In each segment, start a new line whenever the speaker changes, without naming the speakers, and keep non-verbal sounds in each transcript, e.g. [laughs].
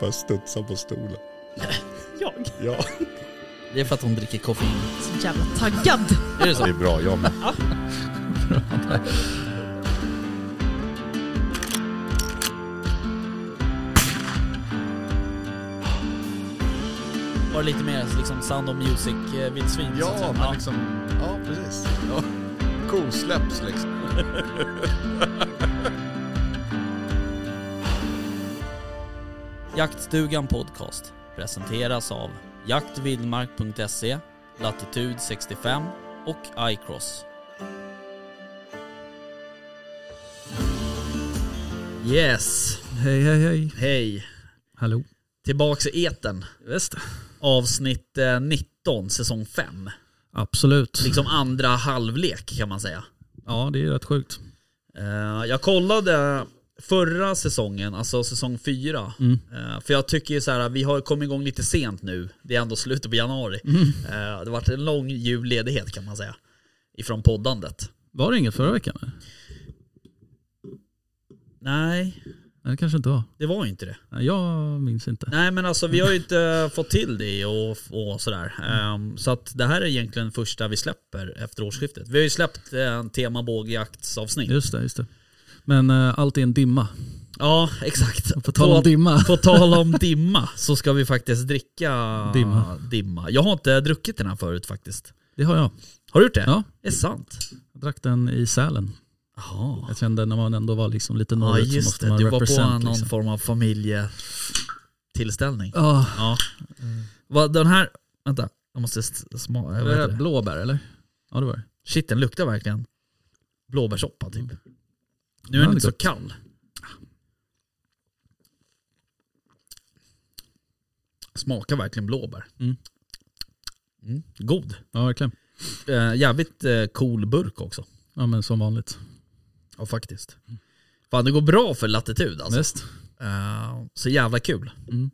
Bara studsar på stolen.
Jag?
Ja.
Det är för att hon dricker koffein.
Så jävla taggad.
Är det
Det
så?
är bra, jag med.
Var det lite mer liksom Sound of eh, Music-vildsvin?
Ja, men liksom... Ja, precis. Ja. Kosläpps liksom.
Jaktstugan Podcast presenteras av jaktvildmark.se, Latitud 65 och iCross. Yes,
Hej, hej, hej.
hej.
Hallå.
Tillbaks i eten.
Visst.
Avsnitt eh, 19, säsong 5.
Absolut.
Liksom andra halvlek kan man säga.
Ja, det är rätt sjukt.
Eh, Jag kollade förra säsongen, alltså säsong 4. För jag tycker ju så här, vi har kommit igång lite sent nu. Det är ändå slutet på januari. Eh, Det har varit en lång julledighet kan man säga. Ifrån poddandet.
Var det inget förra veckan? eller?
Nej,
Nej, det kanske inte var.
det var ju inte det.
Nej, Jag minns inte.
Nej men alltså vi har ju inte fått till det och, och sådär. Ehm, så att det här är egentligen första vi släpper efter årsskiftet. Vi har ju släppt en tema bågjaktsavsnitt.
Just det, just det. Men eh, allt är en dimma.
Ja, exakt.
På tal om dimma.
På tal om dimma så ska vi faktiskt dricka
Dimma.
dimma. Jag har inte druckit den här förut faktiskt.
Det har jag.
Har du gjort det?
Ja.
Det är sant.
Jag drack den i Sälen.
Jaha.
Jag kände när man ändå var liksom lite
Ja
norrut så
just
måste
det,
man
du var
represent,
på någon
liksom.
form av familjetillställning.
Ja.
Ja. Vad den här, vänta. Jag måste smaka.
Är det blåbär eller? Ja det var det.
Shit den luktar verkligen blåbärssoppa typ. Nu är den
Ja, det
inte
är
så kall. Smakar verkligen blåbär.
Mm.
Mm, God.
Ja verkligen.
Eh, jävligt eh, cool burk också.
Ja men som vanligt.
Ja faktiskt. Fan det går bra för latitud alltså.
Visst.
Eh, så jävla kul.
Mm.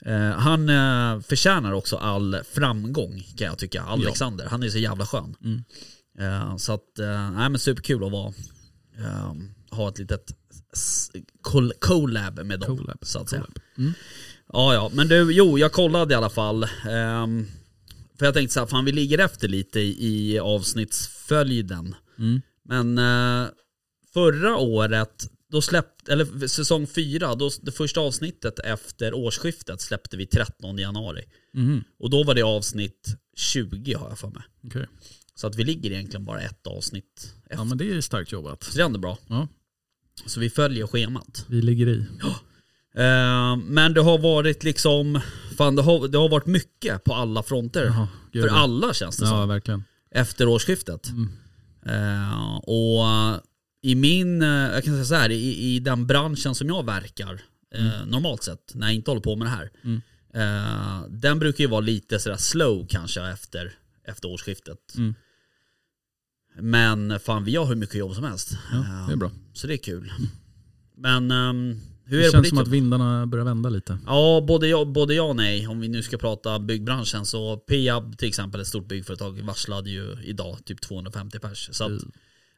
Eh, han eh, förtjänar också all framgång kan jag tycka, Alexander. Han är så jävla skön.
Mm.
Eh, så att, eh, nej men superkul att vara, eh, ha ett litet s- col- collab med dem.
Collab.
Så att säga.
Collab. Mm.
Ja ja, men du, jo jag kollade i alla fall. Ehm, för jag tänkte så här, fan vi ligger efter lite i, i avsnittsföljden.
Mm.
Men eh, förra året, då släppte, eller säsong fyra, då, det första avsnittet efter årsskiftet släppte vi 13 januari.
Mhm.
Och då var det avsnitt 20 har jag för mig.
Okej.
Så att vi ligger egentligen bara ett avsnitt efter.
Ja men det är starkt jobbat.
Så det är ändå bra.
Ja.
Så vi följer schemat.
Vi ligger i.
Eh, men det har varit liksom, fan det har, det har varit mycket på alla fronter.
Jaha, gud.
för alla känns det som.
Ja verkligen.
efter årsskiftet.
Mm.
Eh, och i min, eh, jag kan säga så här, i, i den branschen som jag verkar eh, normalt sett, när jag inte håller på med det här.
Mm.
Eh, den brukar ju vara lite sådär slow kanske efter, efter årsskiftet.
Mm.
Men fan vi har hur mycket jobb som helst. Eh,
Ja, det är bra. Mm.
Så det är kul. Men ehm, hur är
Det
det på
känns
ditt
som att
jobb?
vindarna börjar vända lite.
Ja, både ja, både ja och nej. Om vi nu ska prata byggbranschen så Peab till exempel, ett stort byggföretag, varslade ju idag typ 250 pers. Så
Mm.
att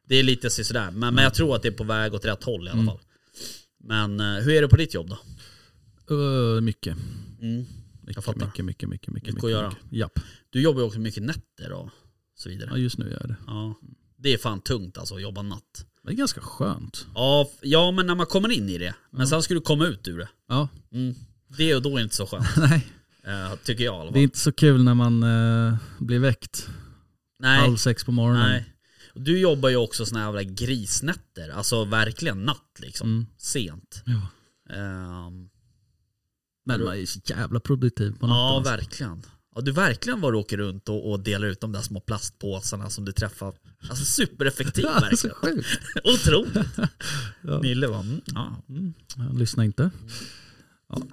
det är lite sådär. Men, men jag tror att det är på väg åt rätt håll i
Mm.
alla fall. Men eh, hur är det på ditt jobb då?
Uh, mycket.
Mm.
Mycket,
fattar.
mycket, mycket, mycket, mycket.
Mycket
mycket
att göra.
mycket. Japp.
Du jobbar ju också mycket nätter och så vidare.
Ja, just nu gör jag det.
Ja. Det är fan tungt alltså att jobba natt.
Men det är ganska skönt.
Ja, f- ja men när man kommer in i det.
Mm.
Men sen ska du komma ut ur det.
Ja,
Mm. Det och då är det inte så skönt,
[laughs]
[laughs]
nej.
eh, tycker jag i alla
Det är
fall.
inte så kul när man eh, blir väckt
Nej.
halv sex på morgonen.
Nej. Och Du jobbar ju också såna jävla grisnätter, alltså verkligen natt liksom.
Mm.
Sent.
Ja.
Ehm,
Men man är ju så jävla produktiv på natten.
ja,
alltså.
verkligen. Ja, du verkligen var du åker runt och, och delar ut de där små plastpåsarna som du träffar. Alltså
[laughs]
supereffektiv
Ja, det är så
verkligen.
sjukt.
Otroligt.
[laughs] Ja.
Nille var... Mm, ja.
Jag lyssnar inte.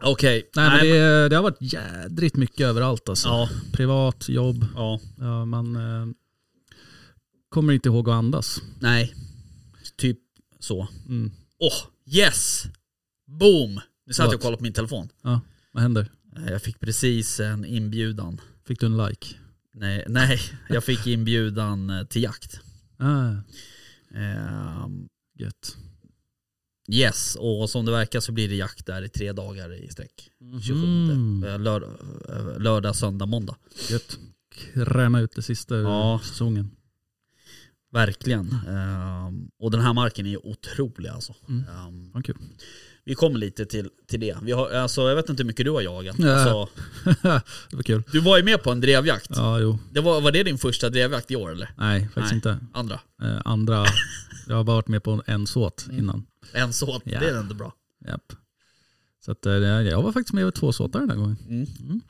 Okej.
Nej,
Nej,
men det, är- det har varit jädrigt mycket överallt alltså.
Ja,
Privat, jobb.
ja.
Ja, man eh, kommer inte ihåg att andas.
Nej. Typ så.
Mm.
Åh, yes! Boom! Nu satt jag och
What?
kollade på min telefon.
Ja, vad händer?
Eh, Jag fick precis en inbjudan.
Fick du en like?
Nej, nej, jag fick inbjudan eh, till jakt.
Ah,
Ehm,
gött.
Yes, och som det verkar så blir det jakt där i tre dagar i sträck.
Mhm.
27, eh, lördag, eh, lördag, söndag, måndag.
Gött. Kräma ut det sista
Ja.
ur säsongen.
Verkligen. Ehm, och den här marken är otrolig alltså.
Mm.
Ehm,
Fan kul.
vi kommer lite till, till det. Vi har, alltså, jag vet inte hur mycket du har jagat.
Nej.
Alltså,
det var kul.
du var ju med på en drevjakt.
Ja, jo.
Det var, var det din första drevjakt i år eller?
Nej, faktiskt
Nej.
inte.
Andra?
Eh, andra, jag har bara varit med på en såt
Mm.
innan.
En såt,
Ja.
det är ändå bra.
Japp. Så att, eh, jag var faktiskt med på två såtar den här gången.
Mm.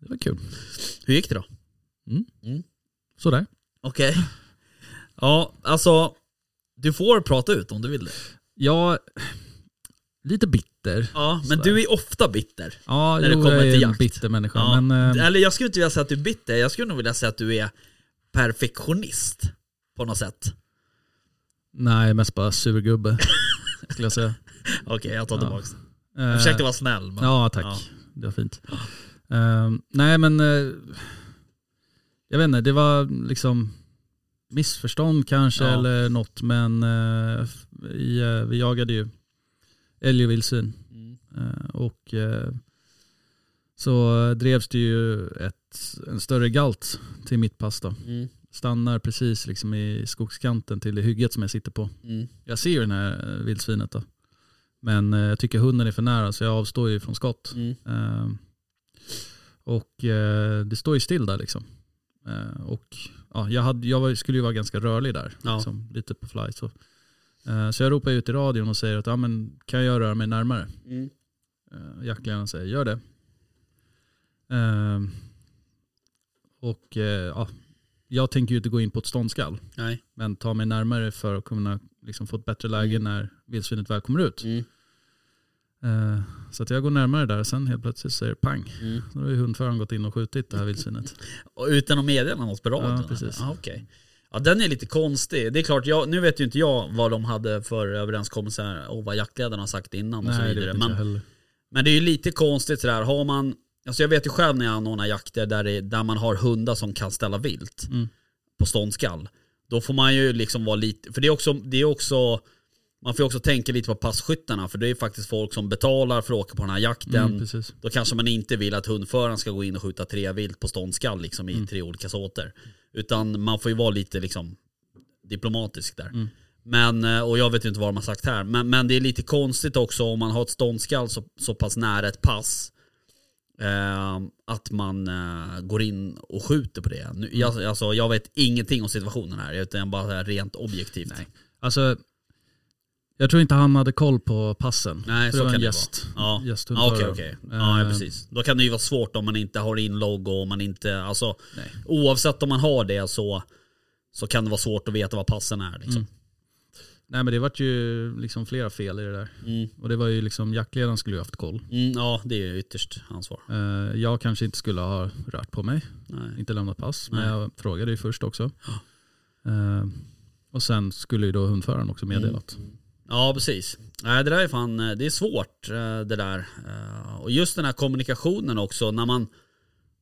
Det var kul.
Hur gick det då?
Sådär.
Okej. Ja, alltså. Du får prata ut om du vill det.
Ja, lite bitter.
Ja, men
Sådär.
du är ofta bitter.
Ja,
När det
jo,
kommer
jag är
till
en
jakt.
bitter människa.
Ja.
Men, eh,
Eller jag skulle inte vilja säga att du är bitter, jag skulle nog vilja säga att du är perfektionist. På något sätt.
nej, mest bara surgubbe skulle jag säga.
Okej, jag tar
Ja.
tillbaks.
Eh,
Jag försökte vara snäll. Men...
Ja, tack.
Ja.
Det var fint. Ehm, nej, men eh, jag vet inte, det var liksom missförstånd kanske
Ja.
eller något, men eh, f- vi, eh, vi jagade ju älg och vildsvin.
Mm.
Eh, och eh, så drevs det ju ett, en större galt till mitt pass då.
Mm.
Stannar precis liksom i skogskanten till det hygget som jag sitter på.
Mm.
Jag ser ju den här eh, vildsvinet då. Men eh, jag tycker hunden är för nära så jag avstår ju från skott.
Mm.
Ehm, och eh, det står ju still där liksom. Ehm, och ja, jag, hade, jag var, skulle ju vara ganska rörlig där.
Ja.
Liksom, lite på fly. Så. Ehm, så jag ropar ut i radion och säger att ja, men, kan jag röra mig närmare?
Mm.
Uh, jaktledaren säger gör det. Ehm, och eh, ja, jag tänker ju inte gå in på ett ståndskall.
Nej.
Men ta mig närmare för att kunna liksom, få ett bättre läge när vildsvinet väl kommer ut.
Mm.
Eh, så att jag går närmare där och sen helt plötsligt säger det pang.
Mm.
Då har ju hundföraren gått in och skjutit det här vildsvinet.
[laughs] Och utan att meddela något på radion?
Ja, precis.
eller? Ja, okej. Ja, den är lite konstig. Det är klart, jag, nu vet ju inte jag vad de hade för överenskommelser och vad jaktledarna har sagt innan och så
Nej, det
vidare.
vet inte
Men,
jag Alltså, heller.
men det är ju lite konstigt sådär, har man... Alltså jag vet ju själv när jag anordnar jakter där, det, där man har hundar som kan ställa vilt
Mm.
på ståndskall. Då får man ju liksom vara lite, för det är också, det är också man får ju också tänka lite på passkyttarna för det är ju faktiskt folk som betalar för att åka på den här jakten.
Mm, precis.
Då kanske man inte vill att hundföraren ska gå in och skjuta tre vilt på ståndskall liksom, i tre olika såter. Utan man får ju vara lite liksom, diplomatisk där. Men, eh, och jag vet ju inte vad de har sagt här, men, men det är lite konstigt också om man har ett ståndskall så, så pass nära ett pass. Eh, att man eh, går in och skjuter på det. Nu, jag, alltså, jag vet ingenting om situationen här, utan bara så här rent objektivt. Nej,
Alltså, jag tror inte han hade koll på passen.
Nej
För
så
var
kan
en
det
gäst,
vara. Ja.
gästhundförare.
Okej, okej. Ja, ja,
Eh,
precis. Då kan det ju vara svårt om man inte har inlogg och om man inte, alltså
Nej.
oavsett om man har det så, så kan det vara svårt att veta vad passen är liksom.
Nej men det vart ju liksom flera fel i det där.
Mm.
Och det var ju liksom, jaktledaren skulle ju haft koll.
Mm, ja, det är ju ytterst ansvar.
Eh, jag kanske inte skulle ha rört på mig,
Nej.
inte lämnat pass.
Nej.
Men jag frågade ju först också. Eh, och sen skulle ju då hundföraren också meddelat.
Mm. Ja, precis. Nej, det där är fan, eh, det är svårt eh, det där. Eh, Och just den här kommunikationen också, när man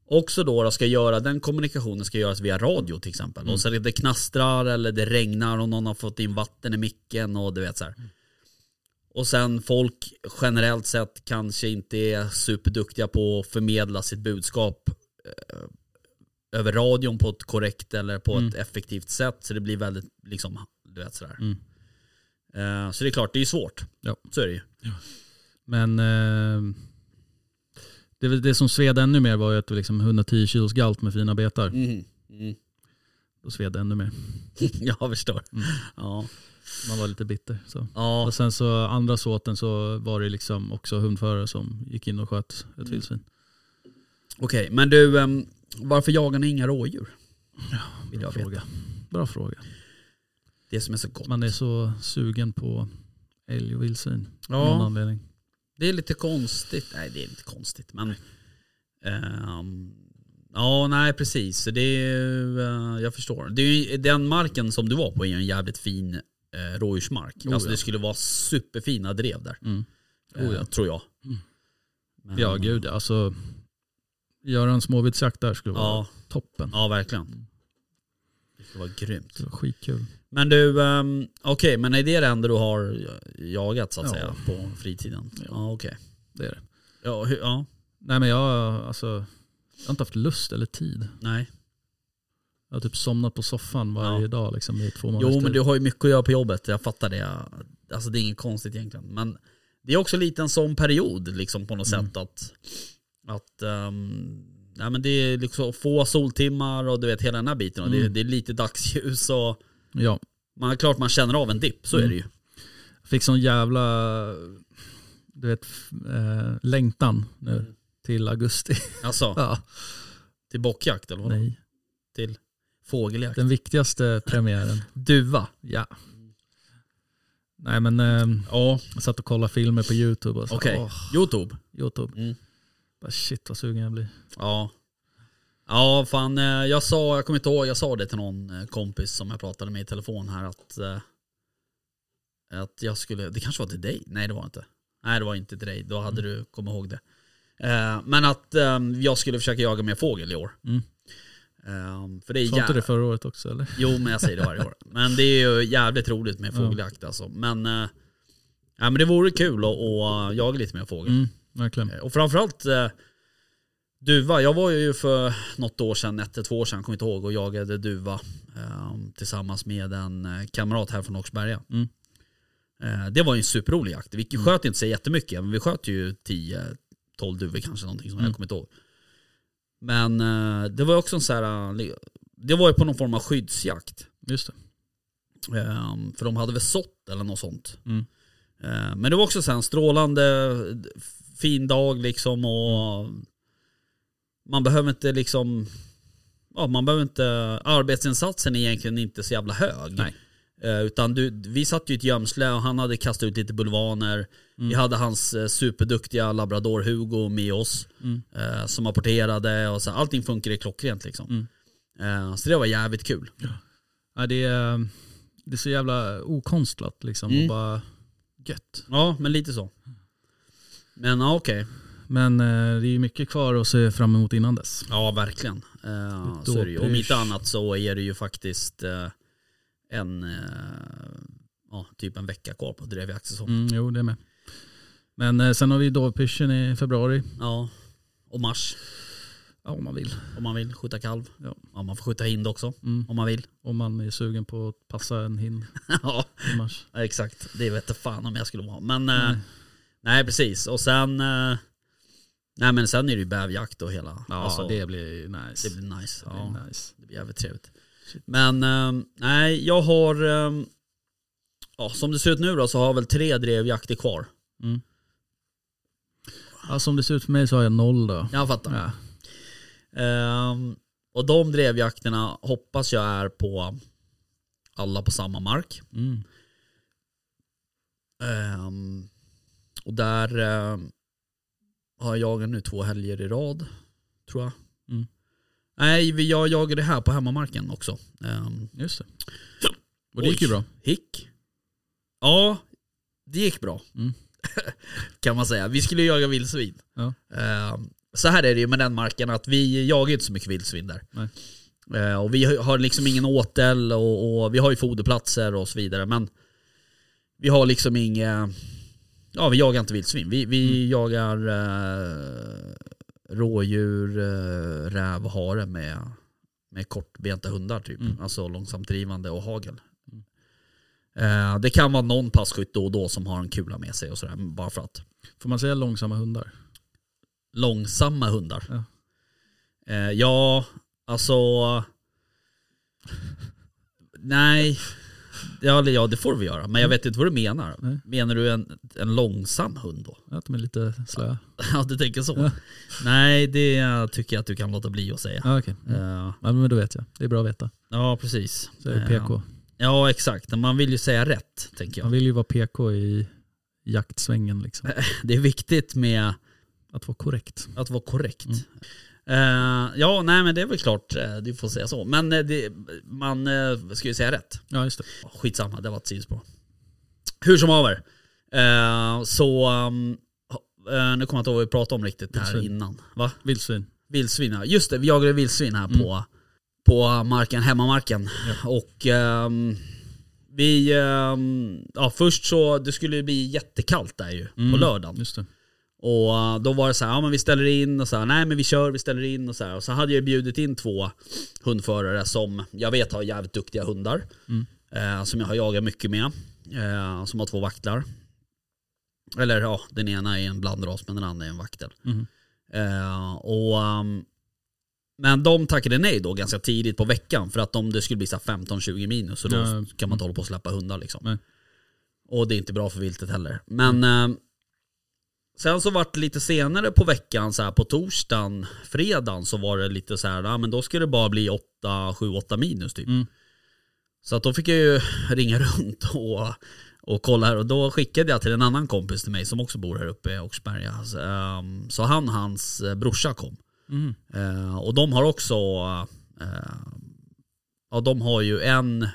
också då, då ska göra, den kommunikationen ska göras via radio till exempel. Och så det knastrar eller det regnar och någon har fått in vatten i micken och du vet så här. Och sen folk generellt sett kanske inte är superduktiga på att förmedla sitt budskap eh, över radion på ett korrekt eller på ett effektivt sätt. Så det blir väldigt, liksom, du vet sådär.
Mm.
Eh, så det är klart, det är ju svårt.
Ja.
Så är det ju.
Men eh, det, var- det som sved ännu mer var ju att det liksom 110 kilos galt med fina betar.
[laughs]
Då sved det ännu mer.
Jag förstår. Ja.
Man var lite bitter. Så.
Ja.
Och sen så andra såten så var det liksom också hundförare som gick in och sköt
Mm.
ett vildsvin.
Okej, men du, ehm, varför jagar ni inga rådjur? Vill jag veta.
Fråga. Bra fråga.
Det som är så gott.
Man är så sugen på älg och vildsvin. Ja. Av
Ja.
någon anledning.
Det är lite konstigt. Nej, det är inte konstigt, men... ehm, ja, nej precis. Så Det är, ju, eh, jag förstår. Det är ju, den marken som du var på är ju en jävligt fin uh, rådjursmark.
Oh,
alltså
ja.
det skulle vara superfina drev där.
Mm.
eh,
Oh, ja.
Tror jag.
Mm.
Men,
Ja gud alltså. Göra en småviltsjakt där skulle vara
Ja,
toppen.
ja verkligen. Det var grymt.
Det var skitkul.
Men du, um, okej, men är det det enda du har jagat så att
Ja.
säga på fritiden? Ja, okej.
Det är det.
Ja, hur, ja,
Nej men jag, alltså, jag har inte haft lust eller tid.
nej.
Jag har typ somnat på soffan varje
Ja.
dag liksom, i två månader.
Jo men du har ju mycket att göra på jobbet, jag fattar det. Alltså det är inget konstigt egentligen. Men det är också lite en sån period liksom på något
Mm.
sätt att, att um, nej, men det är liksom få soltimmar och du vet hela den här biten. Och det,
Mm.
det är lite dagsljus och
Ja.
man, klart man känner av en dipp, så är
Mm.
det ju.
Fick sån jävla du vet, f- eh, längtan nu
Mm.
till augusti.
Alltså
[laughs] ja,
till bockjakt eller vadå?
nej.
Till fågeljakt.
Den viktigaste premiären.
Duva.
Ja. Nej men eh,
Ja,
jag satt och kollade filmer på YouTube och så,
okej.
åh,
Youtube.
YouTube.
Mm.
Bara, shit vad sugen jag blir.
Ja. Ja fan, eh, jag sa, jag kommer inte ihåg, jag sa det till någon eh, kompis som jag pratade med i telefon här att eh, att jag skulle, det kanske var till dig? Nej det var inte. Nej det var inte till dig, då hade
Mm.
du kommit ihåg det. Eh, Men att eh, jag skulle försöka jaga mer fågel i år.
Mm.
Eh, För det är
Sa inte
jä-
du det förra året också eller?
Jo men jag säger det varje
[laughs]
år. Men det är ju jävligt roligt med
Ja.
fågeljakt alltså. Men, eh, ja, men det vore kul att, att jaga lite mer fågel.
Mm, verkligen.
Eh, Och framförallt eh, duva. Jag var ju för något år sedan, ett eller två år sedan, kommer inte ihåg, och jagade duva eh, tillsammans med en eh, kamrat här från Åkersberga.
Mm.
Eh, det var ju en superrolig jakt. Vi sköt inte så jättemycket, men vi sköt ju 10-12 duvor kanske, någonting som
Mm.
jag kommer inte ihåg. Men eh, det var ju också en sån här, eh, det var ju på någon form av skyddsjakt.
Just det.
Ehm, För de hade väl sått eller något sånt.
Mm.
Ehm, Men det var också så här en strålande fin dag liksom och
Mm.
man behöver inte liksom Ja, man behöver inte, arbetsinsatsen är egentligen inte så jävla hög.
Nej.
Eh, utan du, vi satt ju i ett gömsle och han hade kastat ut lite bulvaner.
Mm.
Vi hade hans eh, superduktiga labrador Hugo med oss.
Mm.
Eh, som apporterade och så. Allting funkade klockrent
Mm.
liksom. Eh, så det var jävligt kul.
Ja, det, är, eh, det är så jävla okonstlat liksom.
Mm.
Och bara gött.
Ja, men lite så. Men ja, okej.
Men eh, det är ju mycket kvar att se fram emot innan dess.
Ja, verkligen. Eh,
Ett
så är det ju. Om
dåpers.
inte annat så är det ju faktiskt eh, en, eh, ja, typ en vecka kvar på drevjaktssäsong.
Mm, jo, det är med. Men eh, sen har vi dovpyrschen i februari.
Ja, och mars
Ja, om man vill.
om man vill skjuta kalv.
Ja.
man får skjuta hind också
Mm.
om man vill. [laughs]
Om man är sugen på att passa en hind
ja,
i mars.
exakt. Det vet jag fan om jag skulle vara. Men eh,
Nej.
nej, precis. Och sen, eh, nej men sen är det ju bävjakt och hela.
[laughs] Ja,
alltså,
det blir nice.
det blir nice.
Det blir
ja.
nice.
Det blir jävligt trevligt.
Shit.
Men ehm, nej, jag har... ehm, ja, som det ser ut nu då så har jag väl tre drevjakter kvar.
Ja, som Alltså, det ser ut för mig så har jag noll då.
Jag fattar.
Ja.
Ehm, och de drevjakterna hoppas jag är på alla på samma mark.
Mm.
Ehm, och där ehm, har jag jagat nu två helger i rad, tror jag.
Mm.
Nej, vi- jag jagade här på hemmamarken också. Ehm,
Just det. Och det gick ju
Oj.
bra.
Hick? Ja, det gick bra.
Mm.
[laughs] kan man säga. Vi skulle ju jaga vildsvin.
Ja.
Eh, så här är det ju med den marken att vi jagar inte så mycket vildsvin där.
Nej.
Eh, och vi har- har liksom ingen åtel och, och vi har ju foderplatser och så vidare men vi har liksom inga, ja vi jagar inte vildsvin. Vi, vi
Mm.
jagar eh, rådjur, eh, räv och hare med, med kortbenta hundar typ.
Mm.
Alltså långsamt drivande och hagel. Eh, det kan vara någon passkytt då och då som har en kula med sig och sådär, men bara för att.
Får man säga långsamma hundar?
Långsamma hundar.
Ja.
Eh, ja, alltså... Nej. Ja, eller ja, det får vi göra. Men jag vet inte vad du menar.
Nej.
Menar du en, en långsam hund då? [laughs]
Att de är lite slöa.
Ja, du tänker så?
Ja.
Nej, det tycker jag att du kan låta bli att säga.
Ja, okej. Mm.
Eh,
Ja, men då vet jag. Det är bra att veta.
ja, precis. Eh,
Så är det PK.
Ja, exakt. Man vill ju säga rätt, tänker
Man
jag.
vill ju vara PK i jaktsvängen [laughs] liksom.
Det är viktigt med
Att vara korrekt.
Att vara korrekt. Eh, ja, nej men det är väl klart eh, du får säga så. Men eh, det, man eh, ska ju säga rätt.
Ja, just det.
Skitsamma, det var ett sidospår. Hur som haver. Eh, så, um, ha- eh, nu kommer jag inte ihåg vad vi pratade om riktigt här
Vildsvin.
innan. Va?
Vildsvin. Mm.
Vildsvin, ja. Just det, vi jagade vildsvin här på på marken, hemmamarken. Och ehm, vi, ehm, ja först så, det skulle ju bli jättekallt där ju på lördagen.
Mm, Just det.
Och eh, då var det så här, ja men vi ställer in och så här, nej men vi kör, vi ställer in och så här. Och så hade jag bjudit in två hundförare som jag vet har jävligt duktiga hundar. Eh, som jag har jagat mycket med. Eh, som har två vaktlar. Eller ja, den ena är en blandras men den andra är en vaktel.
Mm.
Eh, och, ehm, men de tackade nej då ganska tidigt på veckan för att om det skulle bli så här 15-20 minus så då
Ja.
kan man inte hålla på och släppa hundar liksom.
Nej.
Och det är inte bra för viltet heller. Men eh, sen så vart det lite senare på veckan, så här på torsdagen, fredagen så var det lite så här, ja men då ska det bara bli 8, 7, 8 minus typ.
Mm.
Så att då fick jag ju ringa [laughs] runt och, och kolla här och då skickade jag till en annan kompis till mig som också bor här uppe i Oxberga. Så, ehm, så han och hans eh, brorsa kom.
Mm.
Eh, och de har också, eh, ja de har ju en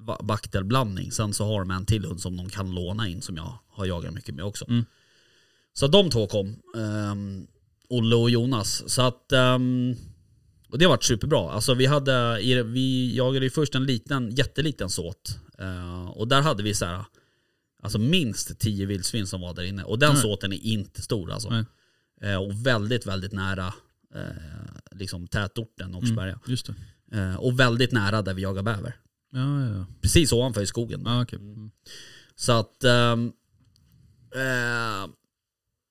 va- vaktelblandning, sen så har de en till hund som de kan låna in som jag har jagat mycket med också.
Mm.
Så de två kom, ehm, Olle och Jonas. Så att, ehm, och det har varit superbra. Alltså vi, hade, i- vi jagade ju först en liten, jätteliten såt. Eh, och där hade vi så här, alltså minst 10 vildsvin som var där inne. Och den
Nej.
såten är inte stor alltså.
Nej.
Eh, och väldigt, väldigt nära eh, liksom tätorten Oxberga.
Just det.
Eh, och väldigt nära där vi jagar bäver.
Ja, ja, ja.
Precis ovanför i skogen.
Ah, okej. Mm.
Så att... ehm, eh,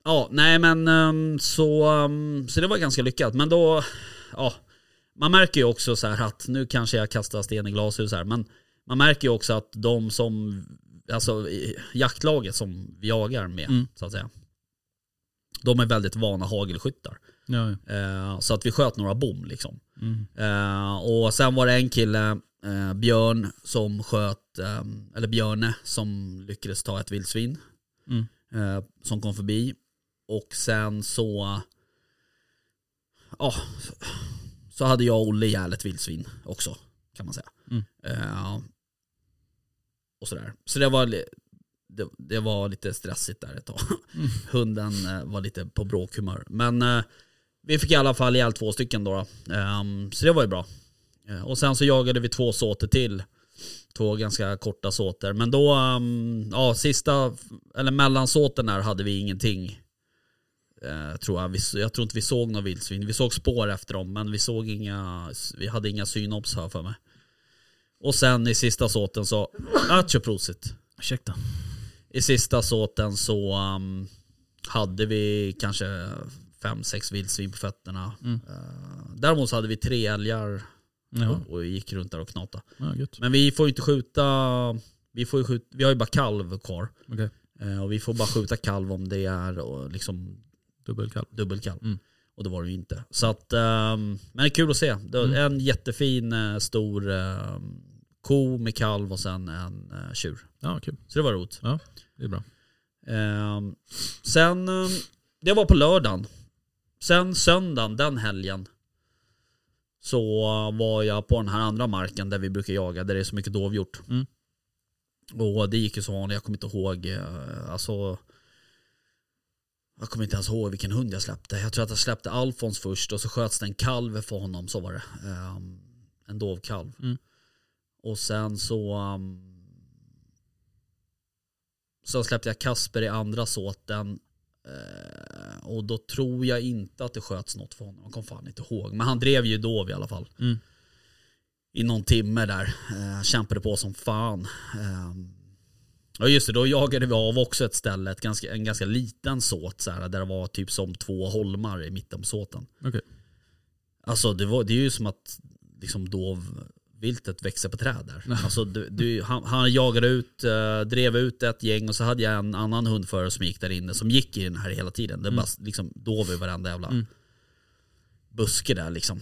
ja, nej men ehm, så, ehm, så det var ganska lyckat. Men då, ja. Man märker ju också så här att, nu kanske jag kastar sten i glashus här, men man märker ju också att de som, alltså i- jaktlaget som vi jagar med,
Mm.
så att säga. De är väldigt vana hagelskyttar.
Ja, ja.
Eh, så att vi sköt några bom liksom.
Mm.
Eh, och sen var det en kille, eh, Björn, som sköt, eh, eller Björne, som lyckades ta ett vildsvin.
Mm.
Eh, som kom förbi. Och sen så, ja, så hade jag och Olle ihjäl ett vildsvin också, kan man säga.
Mm.
Eh, och sådär. Så det var, li- det, det var lite stressigt där ett tag.
Mm.
[laughs] Hunden eh, var lite på bråkhumör. Men eh, vi fick i alla fall ihjäl två stycken då. då. Ehm, så det var ju bra. Eh, och sen så jagade vi två såter till. Två ganska korta såter. Men då, ehm, ja sista, eller mellansåten där hade vi ingenting. Eh, tror jag. Vi, jag tror inte vi såg några vildsvin. Vi såg spår efter dem men vi såg inga, vi hade inga synops här för mig. Och sen i sista såten så, atjo prosit.
Ursäkta.
I sista såten så ehm, hade vi kanske fem, sex vildsvin på fötterna.
Mm.
Eh, däremot så hade vi tre älgar
Ja,
och, och gick runt där och knata.
ja gött.
Men vi får ju inte skjuta, vi, får ju skjuta, vi har ju bara kalv kvar.
Okej.
Eh, och vi får bara skjuta kalv om det är och liksom
Dubbelkalv.
dubbelkalv.
Mm.
Och det var det ju inte. Så att, ehm, men det är kul att se. Det var
Mm.
En jättefin eh, stor ehm, ko med kalv och sen en eh, tjur.
Ja, kul.
Så det var roligt.
Det är bra.
Ehm, sen, ehm, det var på lördagen. Sen söndagen, den helgen, så var jag på den här andra marken där vi brukar jaga, där det är så mycket dovhjort.
Mm.
Och det gick ju som vanligt, jag kommer inte ihåg, eh, alltså jag kommer inte ens ihåg vilken hund jag släppte. Jag tror att jag släppte Alfons först och så sköts det en kalv för honom, så var det. Ehm, en dovkalv.
Mm.
Och sen så ehm, Sen släppte jag Kasper i andra såten. Eh, och då tror jag inte att det sköts något för honom. Jag kommer fan inte ihåg. Men han drev ju Dov i alla fall.
Mm.
I någon timme där. Eh, kämpade på som fan. Eh, ja just det, då jagade vi av också ett ställe. Ett ganska, en ganska liten såt så här, där det var typ som två holmar i mitten på såten.
Okej.
Alltså det, var, det är ju som att liksom dovviltet växer på träd där. Alltså, du, du, han, han jagade ut, eh, drev ut ett gäng och så hade jag en annan hundförare som gick där inne som gick i den här hela tiden. Det var bara liksom dov i varenda jävla
Mm.
buske där liksom.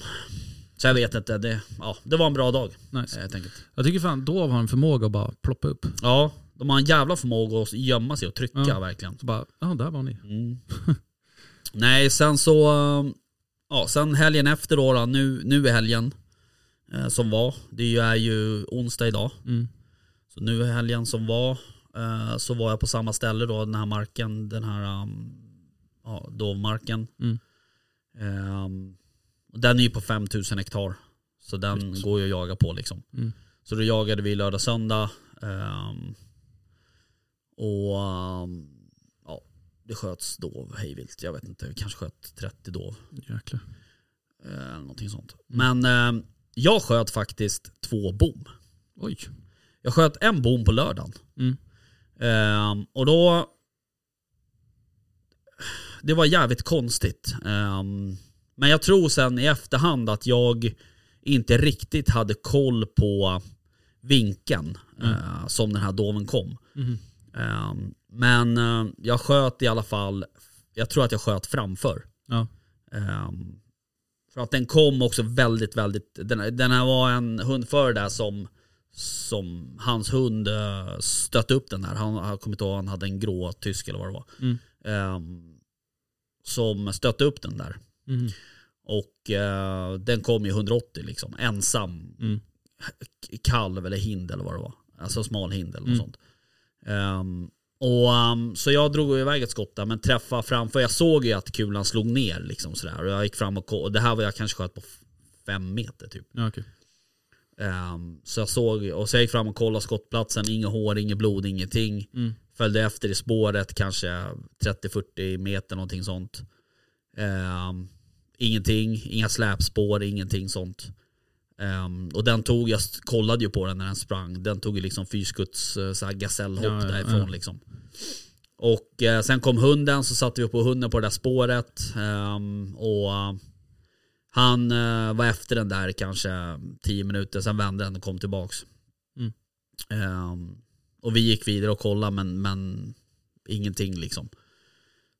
Så jag vet inte, det, ja, det var en bra dag eh,
Nice.
helt enkelt.
Jag tycker fan Dov har en förmåga att bara ploppa upp.
Ja, de har en jävla förmåga att gömma sig och trycka
Ja.
verkligen.
Så bara, ja där var ni.
Mm. [laughs] Nej, sen så... eh, Ja, sen helgen efter då, då nu, nu är helgen eh, som var. Det är ju onsdag idag.
Mm.
Så nu i helgen som var eh, så var jag på samma ställe då, den här marken, den här um, ja, dovmarken.
Mm.
Ehm, och den är ju på 5000 hektar. Så den går ju att jaga på liksom.
Mm.
Så då jagade vi lördag söndag. ehm, och ehm, ja, det sköts dov hejvilt. Jag vet inte, vi kanske sköt 30 dov.
Jäklar.
eh, Eller någonting sånt.
Mm.
Men eh, jag sköt faktiskt två bom.
Oj.
Jag sköt en bom på lördagen.
Mm.
Ehm, och då... Det var jävligt konstigt. Ehm, men jag tror sen i efterhand att jag inte riktigt hade koll på vinkeln eh, som den här doven kom.
Mhm.
Ehm, men eh, jag sköt i alla fall, jag tror att jag sköt framför.
Ja.
Ehm, för att den kom också väldigt, väldigt, den, den här var en hundförare där som, som hans hund eh, stötte upp den här. Han, han kommer inte ihåg, han hade en grå tysk eller vad det var.
Mm.
Ehm, som stötte upp den där.
Mhm.
Och eh, den kom i 180 liksom, ensam.
Mm.
K- Kalv eller hind eller vad det var. Alltså smal hind eller något
Mm.
sånt. Ehm, och, ehm, så jag drog iväg ett skott där men träffade framför. Jag såg ju att kulan slog ner liksom sådär. Och jag gick fram och ko- och det här var jag kanske sköt på f- fem meter typ.
Ja, okej.
Ehm, så jag såg, och så jag gick fram och kollade skottplatsen, inget hår, inget blod, ingenting.
Mm.
Följde efter i spåret kanske 30-40 meter någonting sånt. Ehm, ingenting, inga släpspår, ingenting sånt. Ehm, och den tog, jag s- kollade ju på den när den sprang, den tog ju liksom fyrskuts eh, så här gasellhopp
Ja, ja,
därifrån
ja.
liksom. Och eh, sen kom hunden, så satte vi upp på hunden på det där spåret. ehm, och eh, han eh, var efter den där kanske 10 minuter, sen vände den och kom tillbaks.
Mm.
Ehm, och vi gick vidare och kollade men, men ingenting liksom.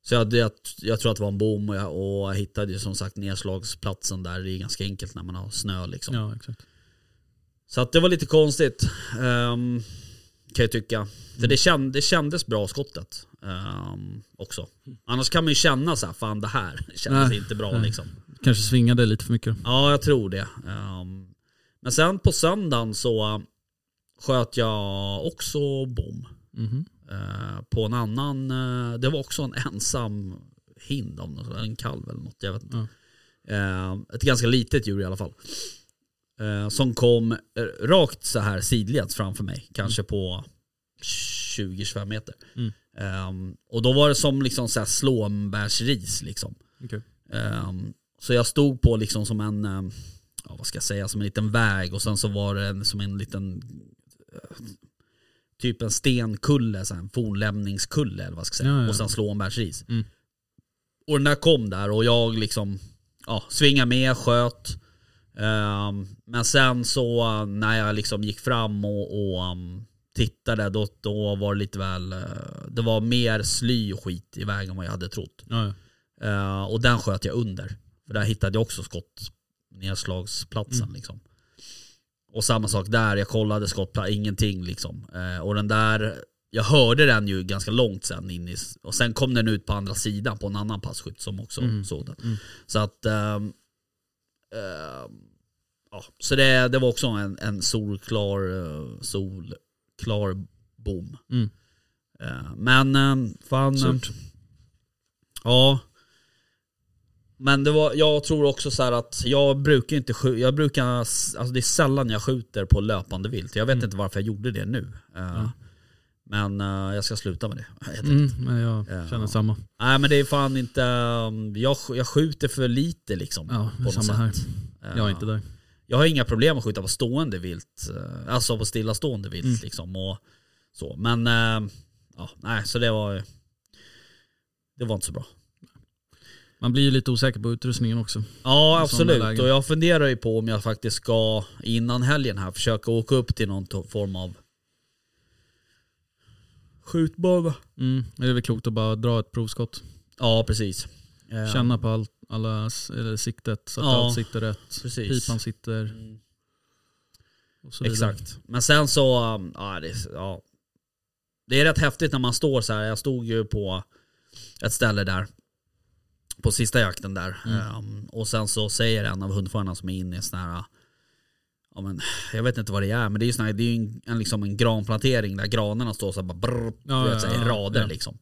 Så jag, jag, jag tror att det var en bom och jag, och jag hittade ju som sagt nedslagsplatsen där. Det är ganska enkelt när man har snö liksom.
Ja, exakt.
Så att det var lite konstigt. ehm, kan jag tycka. För det, känd, det kändes bra skottet. ehm, också. Annars kan man ju känna så här, fan det här [laughs] kändes
Nej.
inte bra
Nej.
liksom.
Kanske svingade lite för mycket.
Ja, jag tror det. Ehm, men sen på söndagen så eh, sköt jag också bom.
Mhm.
eh, på en annan, eh, det var också en ensam hind, av något, en kalv eller något. Jag vet inte.
Ja.
Eh, ett ganska litet djur i alla fall. Eh, som kom eh, rakt så här sidleds framför mig, kanske på 20-25 meter.
Mm.
Eh, och då var det som liksom så här slånbärsris liksom.
Okej.
Ehm, så jag stod på liksom som en, ehm, ja, vad ska jag säga, som en liten väg och sen så var det en, som en liten, eh, typ en stenkulle, så här, en fornlämningskulle eller vad ska jag säga.
Ja, ja, ja.
Och sen slånbärsris.
Mm.
Och den där kom där och jag liksom, ja, svingade med, sköt. Ehm, men sen så eh, när jag liksom gick fram och, och ehm, tittade då, då var det lite väl, eh, det var mer sly och skit i vägen än vad jag hade trott.
Ja, ja.
Eh, och den sköt jag under. För där hittade jag också skottnedslagsplatsen.
Mm.
Liksom. Och samma sak där, jag kollade skottplatsen, ingenting liksom. Eh, och den där, jag hörde den ju ganska långt sen in i, och sen kom den ut på andra sidan på en annan passkytt som också
Mm.
såg den.
Mm.
Så att, ehm, ehm, ja. Så det, det var också en, en solklar, eh, solklar bom.
Mm.
Eh, men ehm, fan, ehm,
Surt.
Ja. Men det var, jag tror också så här att jag brukar inte skjuta, jag brukar, alltså det är sällan jag skjuter på löpande vilt. Jag vet
Mm.
inte varför jag gjorde det nu. Eh, Men eh, jag ska sluta med det. [laughs] helt enkelt.
Mm, men jag
Ja.
känner samma.
Nej men det är fan inte, um, jag, sk- jag skjuter för lite liksom.
Ja,
på något
samma här.
sätt. Eh,
Jag är inte där.
Jag har inga problem att skjuta på stående vilt, eh, alltså på stillastående vilt
Mm.
liksom. Och så. Men eh, ja, nej så det var, det var inte så bra.
Man blir ju lite osäker på utrustningen också.
Ja
i sådana
absolut
lägen.
och jag funderar ju på om jag faktiskt ska innan helgen här försöka åka upp till någon to- form av skjutbana.
Mm. Det är väl klokt att bara dra ett provskott.
Ja precis. Eh,
Känna på allt, alla, s- eller siktet så att
Ja,
allt sitter rätt.
precis.
Pipan sitter
Mm,
och så vidare.
Exakt. Men sen så, um, ja det, är- ja det är rätt häftigt när man står så här. Jag stod ju på ett ställe där på sista jakten där
Mm.
Ehm, och sen så säger en av hundförarna som är inne i sån här Ja, men, jag vet inte vad det är, men det är ju, sån här, det är ju en, en, liksom en granplantering där granarna står så här bara brrr,
Ja,
du
ja,
vet, så här, i
ja,
rader
ja.
liksom.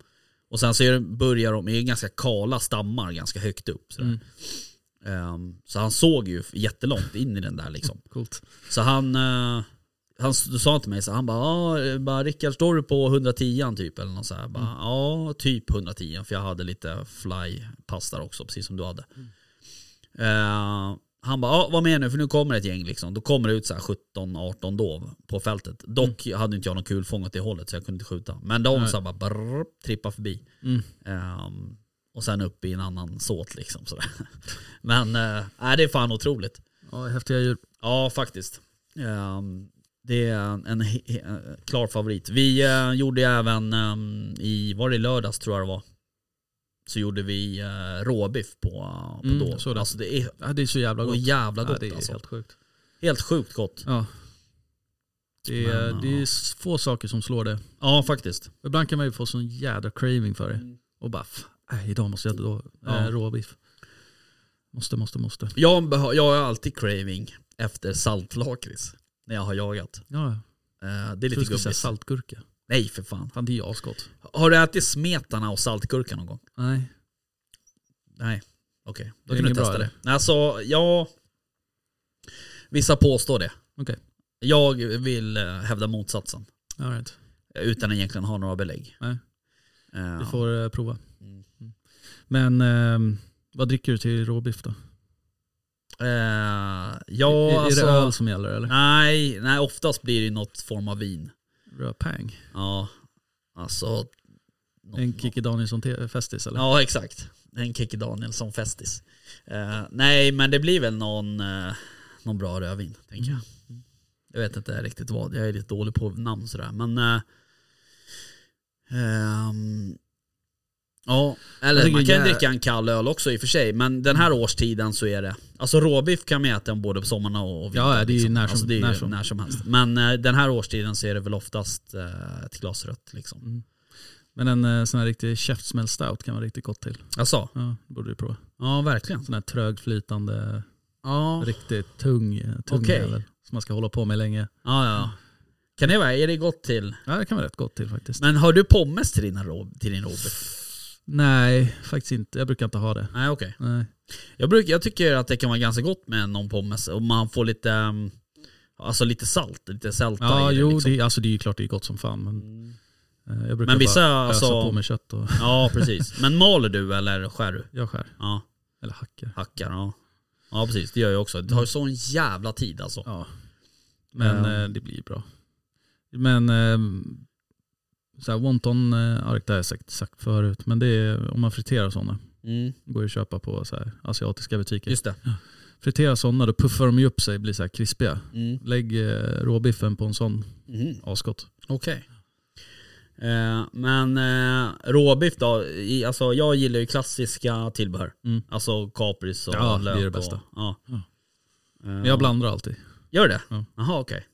Och sen så är det, börjar de, det är ju ganska kala stammar ganska högt upp. Sådär.
Mm.
Ehm, så han såg ju jättelångt in i den där liksom.
Coolt.
Så han, eh, han s- sa till mig så han bara, ah, bara Rickard står du på 110 typ eller något så här. Jag Bara, Ja, typ 110 för jag hade lite fly-pass där också, precis som du hade. Eh, han bara, ah, var med nu för nu kommer ett gäng liksom. Då kommer det ut så här 17-18 då på fältet. Dock hade inte jag någon kulfång åt det hållet så jag kunde inte skjuta. Men de så här bara brrr, trippa förbi.
Mm.
Ehm, och sen upp i en annan såt liksom sådär. [laughs] Men eh, nej, det är fan otroligt.
Ja, häftiga djur.
Ja, faktiskt. Ehm, det är en, en, he- eh, klar favorit. Vi eh, gjorde även ehm, i, var det i lördags tror jag det var, så gjorde vi uh, råbiff på, på
Mm,
Dov.
så det.
Alltså det är
Ja, det är så jävla
så
gott.
jävla
ja,
gott
det är
alltså.
helt
Helt,
sjukt.
sjukt gott.
Ja. Det är,
Men,
det är
ja.
s- få saker som slår det.
Ja, faktiskt.
Ibland kan man ju få sån jädra craving för det. Och bara, "F- nej, idag måste jag då
Mm. Ja.
eh, råbiff. Måste, måste, måste.
Jag, behö- jag har alltid craving efter saltlakrits när jag har jagat.
Ja,
Eh, det är
jag tror
lite
du skulle säga
gubbigt.
saltgurka.
Nej för fan.
Fan det är ju asgott.
Har du ätit smetana och saltgurka någon gång?
Nej.
Nej, okej. Då
Det är
kan du
inget bra,
testa
eller?
det. Alltså, ja... Vissa påstår det.
Okej.
Jag vill eh, hävda motsatsen.
All right.
eh, Utan egentligen ha några belägg.
Nej.
Eh,
Du får eh, prova.
Mm.
Men ehm, vad dricker du till råbiff då?
eh,
är,
ja,
är det öl
alltså...
som gäller eller?
Nej, nej, oftast blir det ju något form av vin.
Rödpang?
Ja, alltså... nå-
En Kikki Danielsson-festis eller?
Ja, exakt. En Kikki Danielsson festis. Eh, nej, men det blir väl någon, eh, någon bra rödvin, tänker jag. Jag vet inte riktigt vad, jag är lite dålig på namn sådär. Men... Eh, ehm, ja,
Jag
eller
tycker
man kan ju
jag-
dricka en kall öl också i och för sig. Men den här årstiden så är det... Alltså råbiff kan man äta både på sommaren och och vintern.
Ja, det är ju när som-
alltså, det är ju
när som.
när som helst. Men eh, den här årstiden så är det väl oftast eh, ett glas rött liksom.
Men en eh, sån här riktig käftsmäll-stout kan vara riktigt gott till.
Alltså,
Ja, det borde du prova.
ja verkligen.
Sån här trögflytande,
Ja.
riktigt tung, eh, tung
Okej.
jävel. Som man ska hålla på med länge.
Ja, ja. Kan det vara? Är det gott till?
Ja, det kan vara rätt gott till faktiskt.
Men har du pommes till, dina rob- till din Robert?
Nej, faktiskt inte. Jag brukar inte ha det.
Nej, okej.
Nej.
Jag, brukar- jag tycker att det kan vara ganska gott med någon pommes om man får lite, ehm, alltså lite salt, lite sälta
Ja,
i det,
jo,
liksom.
det, alltså det är ju klart det är gott som fan. Men, eh, jag brukar
Men vissa,
bara ösa
alltså-
på med kött och [laughs]
Ja, precis. Men maler du eller skär du?
jag skär.
Ja,
Eller hackar.
hackar. Ja. ja, precis. Det gör jag också. Det tar ju sån jävla tid alltså.
Ja. Men
Ja.
eh, det blir bra. Men eh, så här wonton eh, ark, det har jag sagt, sagt förut. Men det är om man friterar sådana.
Mm.
Går ju att köpa på så här, asiatiska butiker.
Just det.
Fritera sådana, då puffar de ju upp sig blir så här krispiga.
Mm.
Lägg eh, råbiffen på en sån,
Mhm.
asgott.
Okej. Eh, men eh, råbiff då, i, alltså jag gillar ju klassiska tillbehör.
Mm.
Alltså kapris och
Ja, det
lök
är det
och-
bästa.
ja.
Ja.
Eh,
Men jag blandar alltid.
Gör det?
Ja.
Jaha okej.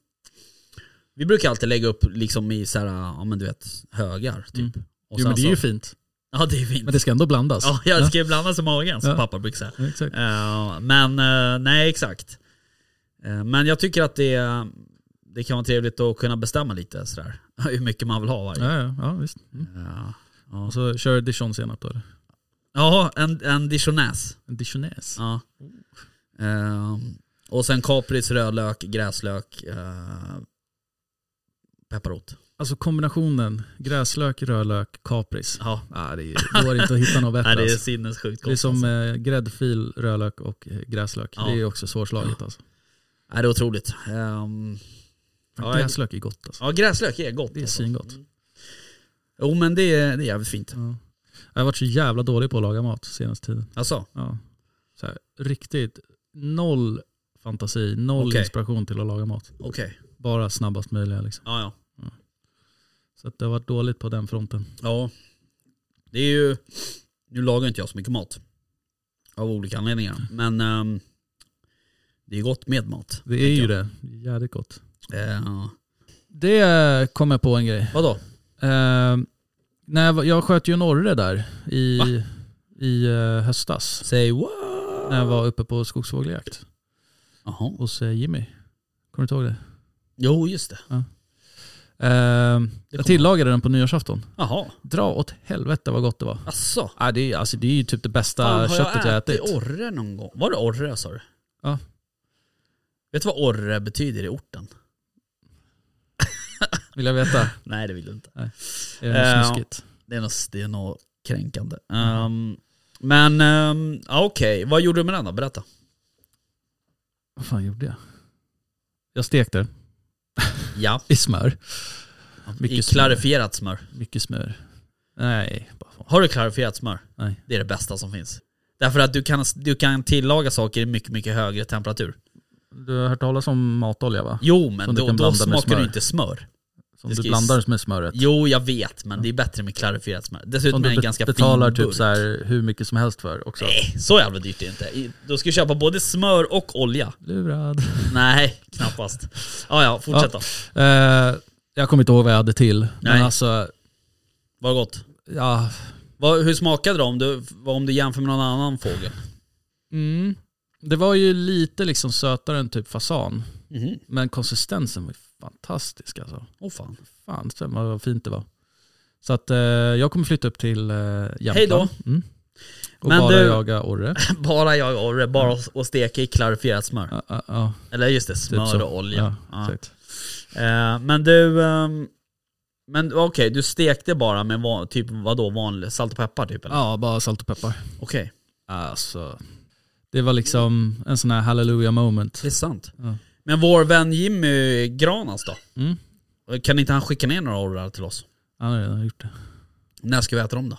Vi brukar alltid lägga upp liksom i så här, ja men du vet, högar typ.
Mm.
Och
Jo men
sen
det är ju
så,
fint.
Ja det är fint.
Men det ska ändå blandas.
Ja, jag ska ju blandas i magen som
Ja.
pappa brukar säga.
Ja, Exakt.
Eh, men eh, nej exakt. Eh, men jag tycker att det, det kan vara trevligt att kunna bestämma lite sådär. [laughs] Hur mycket man vill ha varje. Eh,
Ja, ja, ja visst. Mm.
Ja. Ja.
Och så kör dijonsenap då eller?
Ja, en, en dijonäs.
En dijonäs.
Ja. Ehm, och sen kapris, rödlök, gräslök, eh, pepparrot.
Alltså kombinationen gräslök, rödlök, kapris.
Ja,
Ah, det är- går inte att hitta något bättre.
[laughs] Nej, det är
alltså.
sinnessjukt gott.
det är som
alltså.
eh, gräddfil, rödlök och eh, gräslök.
Ja.
Det är också svårslaget alltså.
Nej, det är otroligt. Ehm, Ja, jag-
gräslök är gott alltså.
ja, gräslök är gott.
Det är
alltså.
svingott.
Jo, men det är, det är jävligt fint.
Ja. Jag har varit så jävla dålig på att laga mat senaste tiden.
Alltså,
Ja. Så här, riktigt noll fantasi, noll
Okej.
inspiration till att laga mat.
okej.
Bara snabbast möjliga liksom.
Ja, ja.
Så att det har varit dåligt på den fronten.
Ja. Det är ju... Nu lagar inte jag så mycket mat. Av olika anledningar. Men ehm, det är gott med mat.
Det är
tänker
ju
jag.
det. Jävligt gott.
Eh,
Det eh, kom jag på en grej.
vadå?
Eh, när jag, var- jag sköt ju en orre där i, i eh, höstas.
Say what?
När jag var uppe på skogsfågeljakt
Jaha.
hos eh, Jimmy. Kommer du inte ihåg det?
Jo, just det.
Ehm,
kommer-
jag tillagade den på nyårsafton.
Jaha,
Dra åt helvete vad gott det var.
asså.
Ah, det, är, alltså, det är ju typ det bästa
Fan, har
köttet jag,
jag
ätit.
ätit orre någon gång? Var det orre sa du?
Ja.
Vet du vad orre betyder i orten?
Vill jag [laughs] veta? Är
Nej det vill du inte.
det
Eh,
något snuskigt?
Det är nog, det är nog kränkande.
Mm.
Ehm, men um, okej, vad gjorde du med den då? Berätta.
Vad fan gjorde jag? Jag stekte
Ja,
i smör.
i
Mycket smör.
klarifierat smör.
Mycket smör. Nej, bara fan.
Har du klarifierat smör?
Nej.
Det är det bästa som finns. Därför att du kan, du kan tillaga saker i mycket, mycket högre temperatur.
Du har hört talas om matolja va?
Jo, men
Som du
då,
kan
då
blanda med
smakar du
smör.
inte smör.
Som
det
du
ska ju-
blandar med smöret.
Jo, jag vet, men det är bättre med klarifierat smör.
Som
Dessutom är
du
det en
bet-
ganska fin
betalar typ
burk.
så här hur mycket som helst för också.
Nej, så jävla dyrt är det inte. I- Då ska du köpa både smör och olja.
Lurad.
Nej, knappast. Ja, ja, fortsätt då.
Eh, jag kommer inte ihåg vad jag hade till.
Nej.
Men alltså,
Vad gott.
ja.
Vad, hur smakade det om du, om du jämför med någon annan fågel?
Mm. Det var ju lite liksom sötare än typ fasan.
Åh mm.
Men konsistensen var ju fantastisk alltså.
fan. [laughs]
Fan sen vad vad fint det var. Så att eh, jag kommer flytta upp till eh, Jämtland.
Hej då.
Mm. Och
Men
bara
du-
jaga orre.
Bara jag och Orre, bara att- att steka i klarifierat smör.
Mm. Ja, ja, ja,
Eller just det,
typ
smör
så.
och olja.
Ja,
Ja.
exakt.
Eh, men du, ehm, men okej, du stekte bara med van, typ vadå, vanlig salt och peppar typ? Eller?
ja, bara salt och peppar.
Okej,
Alltså, det var liksom en sån här hallelujah moment.
det är sant.
Ja.
Men vår vän Jimmy Granas då?
Mm.
Kan inte han skicka ner några orrar till oss?
Han har redan gjort det.
När ska vi äta dem då?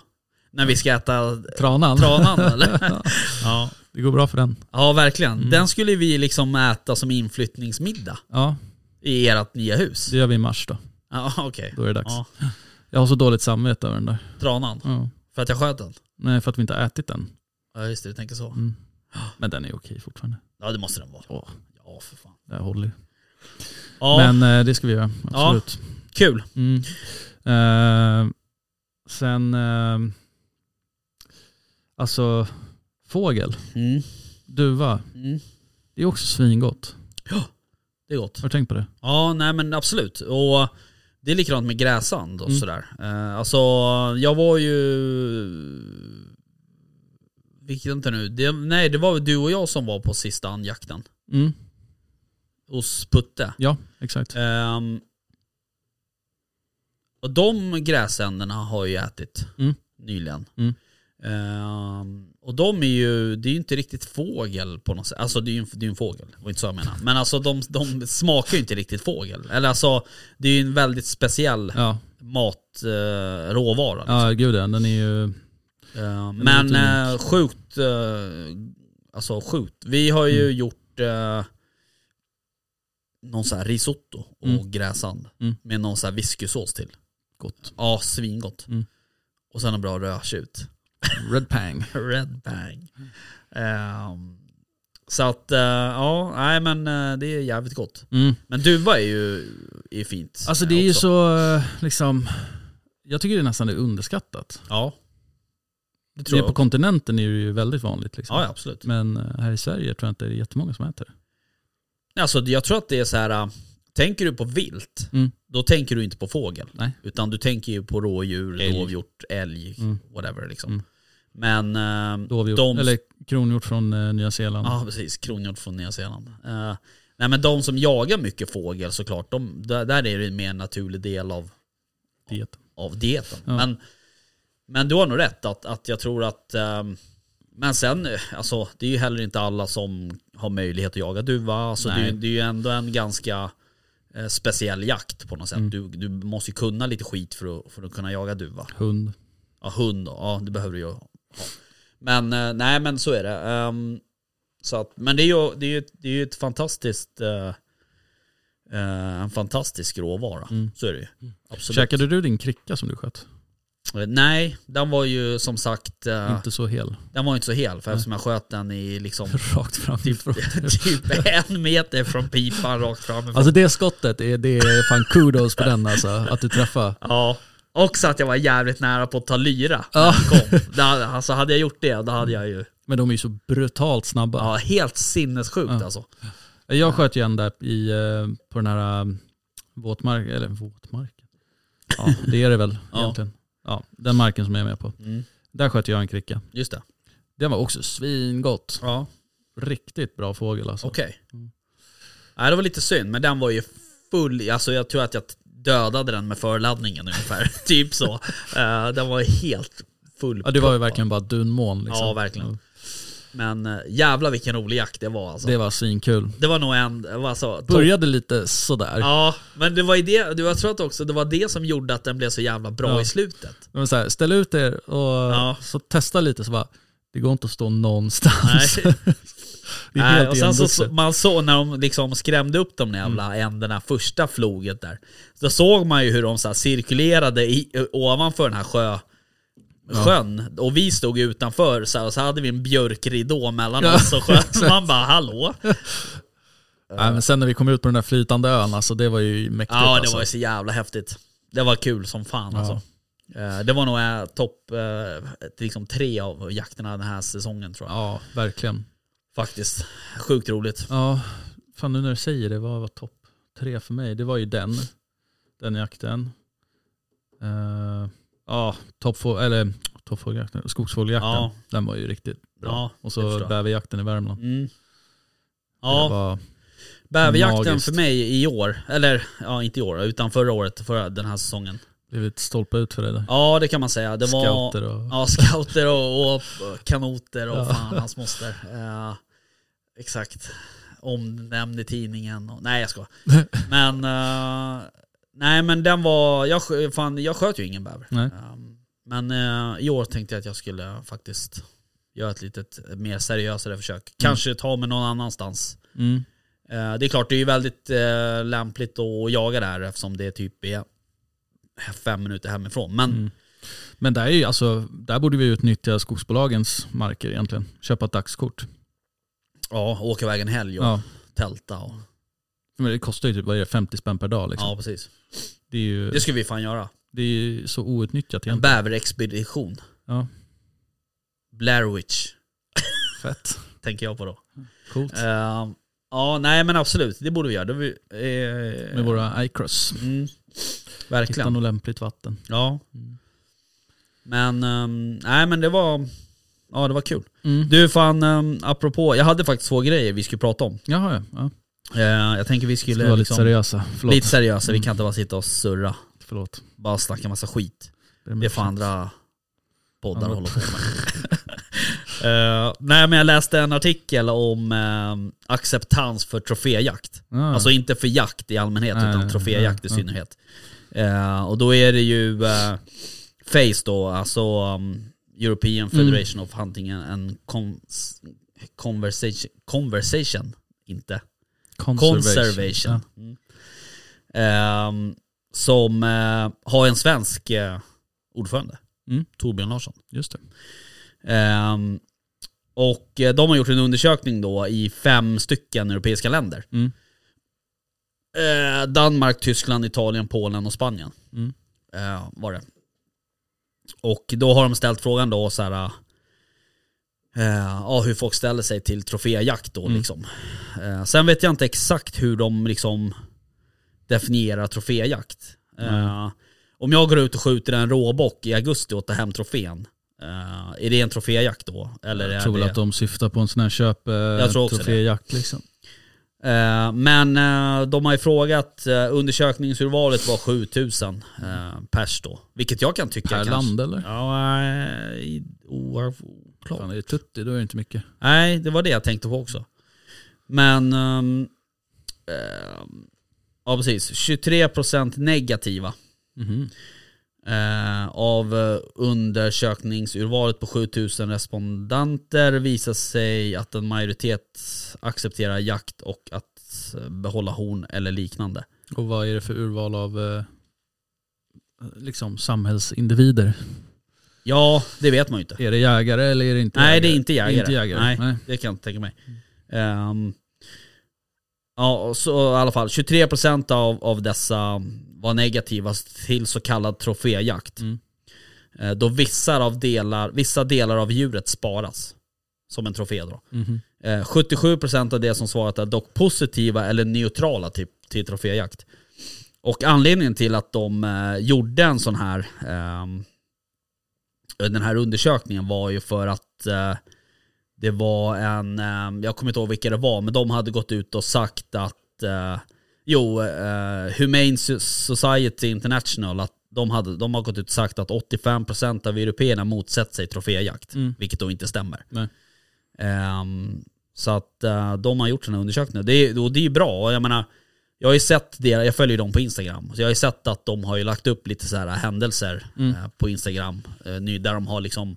När vi ska äta
Tranan. [laughs]
tranan eller? ja.
Det går bra för den.
ja, verkligen.
Mm.
Den skulle vi liksom äta som inflyttningsmiddag
Ja,
i ert nya hus.
det gör vi i mars då.
Ja, okej.
Då är det dags.
Ja,
Jag har så dåligt samvete över den där.
tranan.
Ja.
För att jag sköt den?
Nej, för att vi inte har ätit den.
Ja just det, du tänker så.
Mm. Men den är okej fortfarande.
Ja det måste den vara.
Ja,
Ja för fan.
det här håller ju.
Ja,
Men eh, det ska vi göra, absolut.
kul.
Mm. Eh, sen, eh, alltså fågel,
Mm.
duva,
Mm.
det är också svingott.
Det är gott.
Har du tänkt på det?
Ja, nej men absolut. Och det är likadant med gräsand och
Mm.
sådär. Eh, alltså, jag var ju... Vilket inte nu. Det, nej, det var väl du och jag som var på sista andjakten.
Mm.
Hos Putte.
Ja, exakt.
Ehm, och de gräsänderna har jag ju ätit
Mm.
nyligen.
Mm.
Ehm, och de är ju, det är ju inte riktigt fågel på något sätt. Alltså det är ju en, det är ju en fågel, det var inte så jag menar. Men alltså de, de smakar ju inte riktigt fågel. Eller alltså, det är ju en väldigt speciell eh,
Ja,
matråvara.
ja gud ja, den är ju...
Eh,
Det
Men
låter unikt.
eh, sjukt, eh, alltså sjukt. Vi har ju
Mm.
gjort eh, någon sån här risotto och
Mm.
gräsand
Mm.
med någon sån här whiskysås till.
Gott.
Ja, svingott.
Mm.
Och sen en bra rödtjut.
[laughs] Red Pang.
Red bang. Ehm, så att, eh, ja, nej men eh, det är jävligt gott.
Mm.
Men duva är ju är fint.
Alltså
eh,
det är ju
också.
så, eh, liksom... Jag tycker det är nästan är underskattat.
Ja. Det
Det
tror
är
jag.
på
också.
kontinenten är det ju väldigt vanligt. Liksom.
Ja, ja, absolut.
Men eh, här i Sverige tror jag inte det är jättemånga som äter det.
Alltså jag tror att det är så här. äh, tänker du på vilt,
Mm.
då tänker du inte på fågel.
Nej.
Utan du tänker ju på rådjur,
Älg.
dovhjort, älg,
Mm.
whatever liksom.
Mm.
Men äh,
Dovhjort,
de... Ah.
eller kronhjort från eh, Nya Zeeland.
Ja precis, kronhjort från Nya Zeeland. Eh, nej men de som jagar mycket fågel såklart, de, där, där är det mer en naturlig del av,
Dieten.
av dieten.
Ja.
Men, men du har nog rätt att, att jag tror att ehm, men sen, eh, alltså, det är ju heller inte alla som har möjlighet att jaga duva. Alltså, det, är, ju-
Nej.
det är ju ändå en ganska eh, speciell jakt på något sätt.
Mm.
Du, du måste ju kunna lite skit för att, för att kunna jaga duva.
Hund.
Ja, hund. Ja, det behöver du ju ha. Men eh, nej, men så är det. Ehm, så att, men det är ju, det är ju, det är ju ett fantastiskt... eh, eh, en fantastisk råvara.
Mm.
Så är det ju. Absolut.
Käkade du din kricka som du sköt?
Eh, Nej, den var ju som sagt... eh,
Inte så hel. [laughs]
Den var ju inte så hel, för eftersom jag sköt den i liksom...
Rakt fram.
Typ, typ en meter från pipan rakt framifrån.
[laughs] Alltså det skottet, är, det är fan kudos på den alltså. Att du träffar.
Ja. Också att jag var jävligt nära på att ta lyra när han
[laughs]
kom. Det, hade- alltså hade jag gjort det, då hade jag ju...
Men de är ju så brutalt snabba.
Ja, helt sinnessjukt alltså.
Jag sköt ju en där i, eh, på den här eh, våtmark, eller våtmark, Ja, det är det väl
Ja.
egentligen. Ja, den marken som jag är med på.
Mm.
Där sköt jag en kricka.
Just det.
Den var också svingott.
Ja,
Riktigt bra fågel alltså.
okej. Nej, det var lite synd, men den var ju full i- Alltså jag tror att jag dödade den med förladdningen ungefär. [laughs] typ så. Eh, den var helt full.
Ja, det var ju verkligen bara dunmån liksom.
Ja, verkligen. Men uh, jävla vilken rolig jakt det var alltså.
Det
Det,
var svinkul.
var nog en... det var Alltså, topp-
Började lite sådär.
Ja, men det var ju det, det var- jag tror att också det var det som gjorde att den blev så jävla bra
Ja.
i
[laughs]
slutet.
Men så här, ställ ut er och
Ja.
så testa lite så bara, det går inte att stå någonstans.
Nej.
[laughs] Det
Nej,
är helt
och sen så,
igenvuxet.
man såg när de liksom skrämde upp de där jävla änderna, första floget där. Så såg man ju hur de så här cirkulerade i, ovanför den här sjö, sjön. Och vi stod utanför så här, och så hade vi en björkridå mellan oss och sjön. Så man bara hallå?
Nej, men sen när vi kom ut på den där flytande ön, alltså det var ju mäktigt.
Ja det
alltså.
var ju så jävla häftigt. Det var kul som fan
Ja.
alltså. Eh, Det var nog eh, topp eh, liksom tre av jakterna den här säsongen tror jag.
Ja, verkligen.
Faktiskt. Sjukt roligt.
Ja, fan nu när du säger det, vad var topp tre för mig? Det var ju den, den jakten. Eh, ja, toppfå- eller toppfågeljakten, skogsfågeljakten.
Ja.
Den var ju riktigt bra.
Ja,
och
jag
så
förstår.
bäverjakten i Värmland.
Mm.
Det
Ja,
var,
bäverjakten
magiskt.
för mig i år, eller ja inte i år, utan förra året, förra den här säsongen.
blev ett stolpe ut för det där.
Ja det kan man säga. Det var,
Scouter och...
Ja, scouter och, och kanoter och
Ja.
fan hans moster. Eh, exakt. Omnämnd i tidningen. Och, nej jag
[laughs]
ska. Men, eh, nej men den var, jag, skö- fan, jag sköt ju ingen bäver.
Nej.
Um, men eh, i år tänkte jag att jag skulle faktiskt göra ett litet mer seriösare försök. Kanske ta mig någon annanstans.
Mm.
Eh, det är klart, det är ju väldigt eh, lämpligt att jaga där eftersom det typ är fem minuter hemifrån. Men
Mm. Men där, är ju, alltså, där borde vi utnyttja skogsbolagens marker egentligen. Köpa ett dagskort.
ja, åka iväg en helg och
Ja.
tälta och
Men det kostar ju typ vad är det, 50 spänn per dag. Liksom.
Ja precis.
Det, är ju,
Det skulle vi fan göra.
det är ju så outnyttjat
En
egentligen.
bäverexpedition.
Ja,
Blair Witch,
fett.
tänker jag på då.
Coolt.
Eh, ja, nej men absolut. Det borde vi göra. Det vi, eh,
Med våra iCross.
Mm,
Hitta
verkligen.
något lämpligt vatten.
Ja.
Mm.
Men, ehm, nej men det var... Ja det var kul. Du fan, um, apropå, jag hade faktiskt två grejer vi skulle prata om.
Jaha ja. ja.
Eh, jag tänker vi
Ska
skulle...
vara lite
liksom-
seriösa. Förlåt.
Lite seriösa, vi
Mm.
kan inte bara sitta och surra.
Förlåt.
Bara snacka massa skit.
Ber om
Det får
ursäkt.
andra poddar
Andra-
hålla på med. [laughs] Eh, nej men jag läste en artikel om eh, acceptans för troféjakt.
Ja,
Alltså inte för jakt i allmänhet
Nej,
utan
nej,
troféjakt i
nej, nej.
synnerhet. Eh, och då är det ju eh, FACE då, alltså um,
Mm.
European Federation of Hunting and Cons- Conversation, conversation inte. Conservation.
Ja.
Mm. Ehm, som eh, har en svensk eh, ordförande,
Mm.
Torbjörn Larsson.
Just det.
Ehm, och eh, de har gjort en undersökning då i fem stycken europeiska länder.
Mm.
Eh, Danmark, Tyskland, Italien, Polen och Spanien.
Mm.
Eh, var det. Och då har de ställt frågan då så här. eh, ja, hur folk ställer sig till troféjakt då
Mm.
liksom. Eh, sen vet jag inte exakt hur de liksom definierar troféjakt.
Mm.
Eh, om jag går ut och skjuter en råbock i augusti och tar hem trofén, eh, är det en troféjakt då? Eller
Jag
är
tror väl
det...
att de syftar på en sån här köp eh,
tror också det.
troféjakt liksom.
Eh, men eh, de har ju frågat, eh, undersökningsurvalet var 7000 eh, pers då. Vilket jag kan tycka
Per
kanske.
land eller?
Ja, eh, o- oklart.
Fan, är det tutti då är det inte mycket.
Nej, det var det jag tänkte på också. Men... ehm, ehm, ja, precis. 23% negativa
Mhm.
eh, av eh, undersökningsurvalet på 7000 respondenter visar sig att en majoritet accepterar jakt och att eh, behålla horn eller liknande.
Och vad är det för urval av eh, liksom samhällsindivider?
Ja, det vet man ju inte.
Är det jägare eller är det inte
Nej,
jägare?
det är inte jägare.
Inte jägare.
Nej,
Nej.
det kan jag inte tänka mig. Ehm, ja, och så i alla fall 23% av, av dessa var negativa till så kallad troféjakt.
Mm.
Eh, Då vissa, av delar, vissa delar av djuret sparas som en trofé. Då.
Mhm.
Eh, 77% av de som svarat är dock positiva eller neutrala till, till troféjakt. Och anledningen till att de eh, gjorde en sån här, ehm, den här undersökningen var ju för att eh, det var en, ehm, jag kommer inte ihåg vilka det var, men de hade gått ut och sagt att, eh, jo, eh, Humane So- Society International, att de, hade, de har gått ut och sagt att 85% av européerna motsätter sig troféjakt,
Mm.
vilket då inte stämmer.
Nej.
Ehm, så att eh, de har gjort den här undersökningen. Det är, och det är ju bra. Och Jag menar, jag har ju sett deras, jag följer dem på Instagram. Så jag har ju sett att de har ju lagt upp lite så här händelser
Mm.
eh, på Instagram. eh, nu, där de har liksom,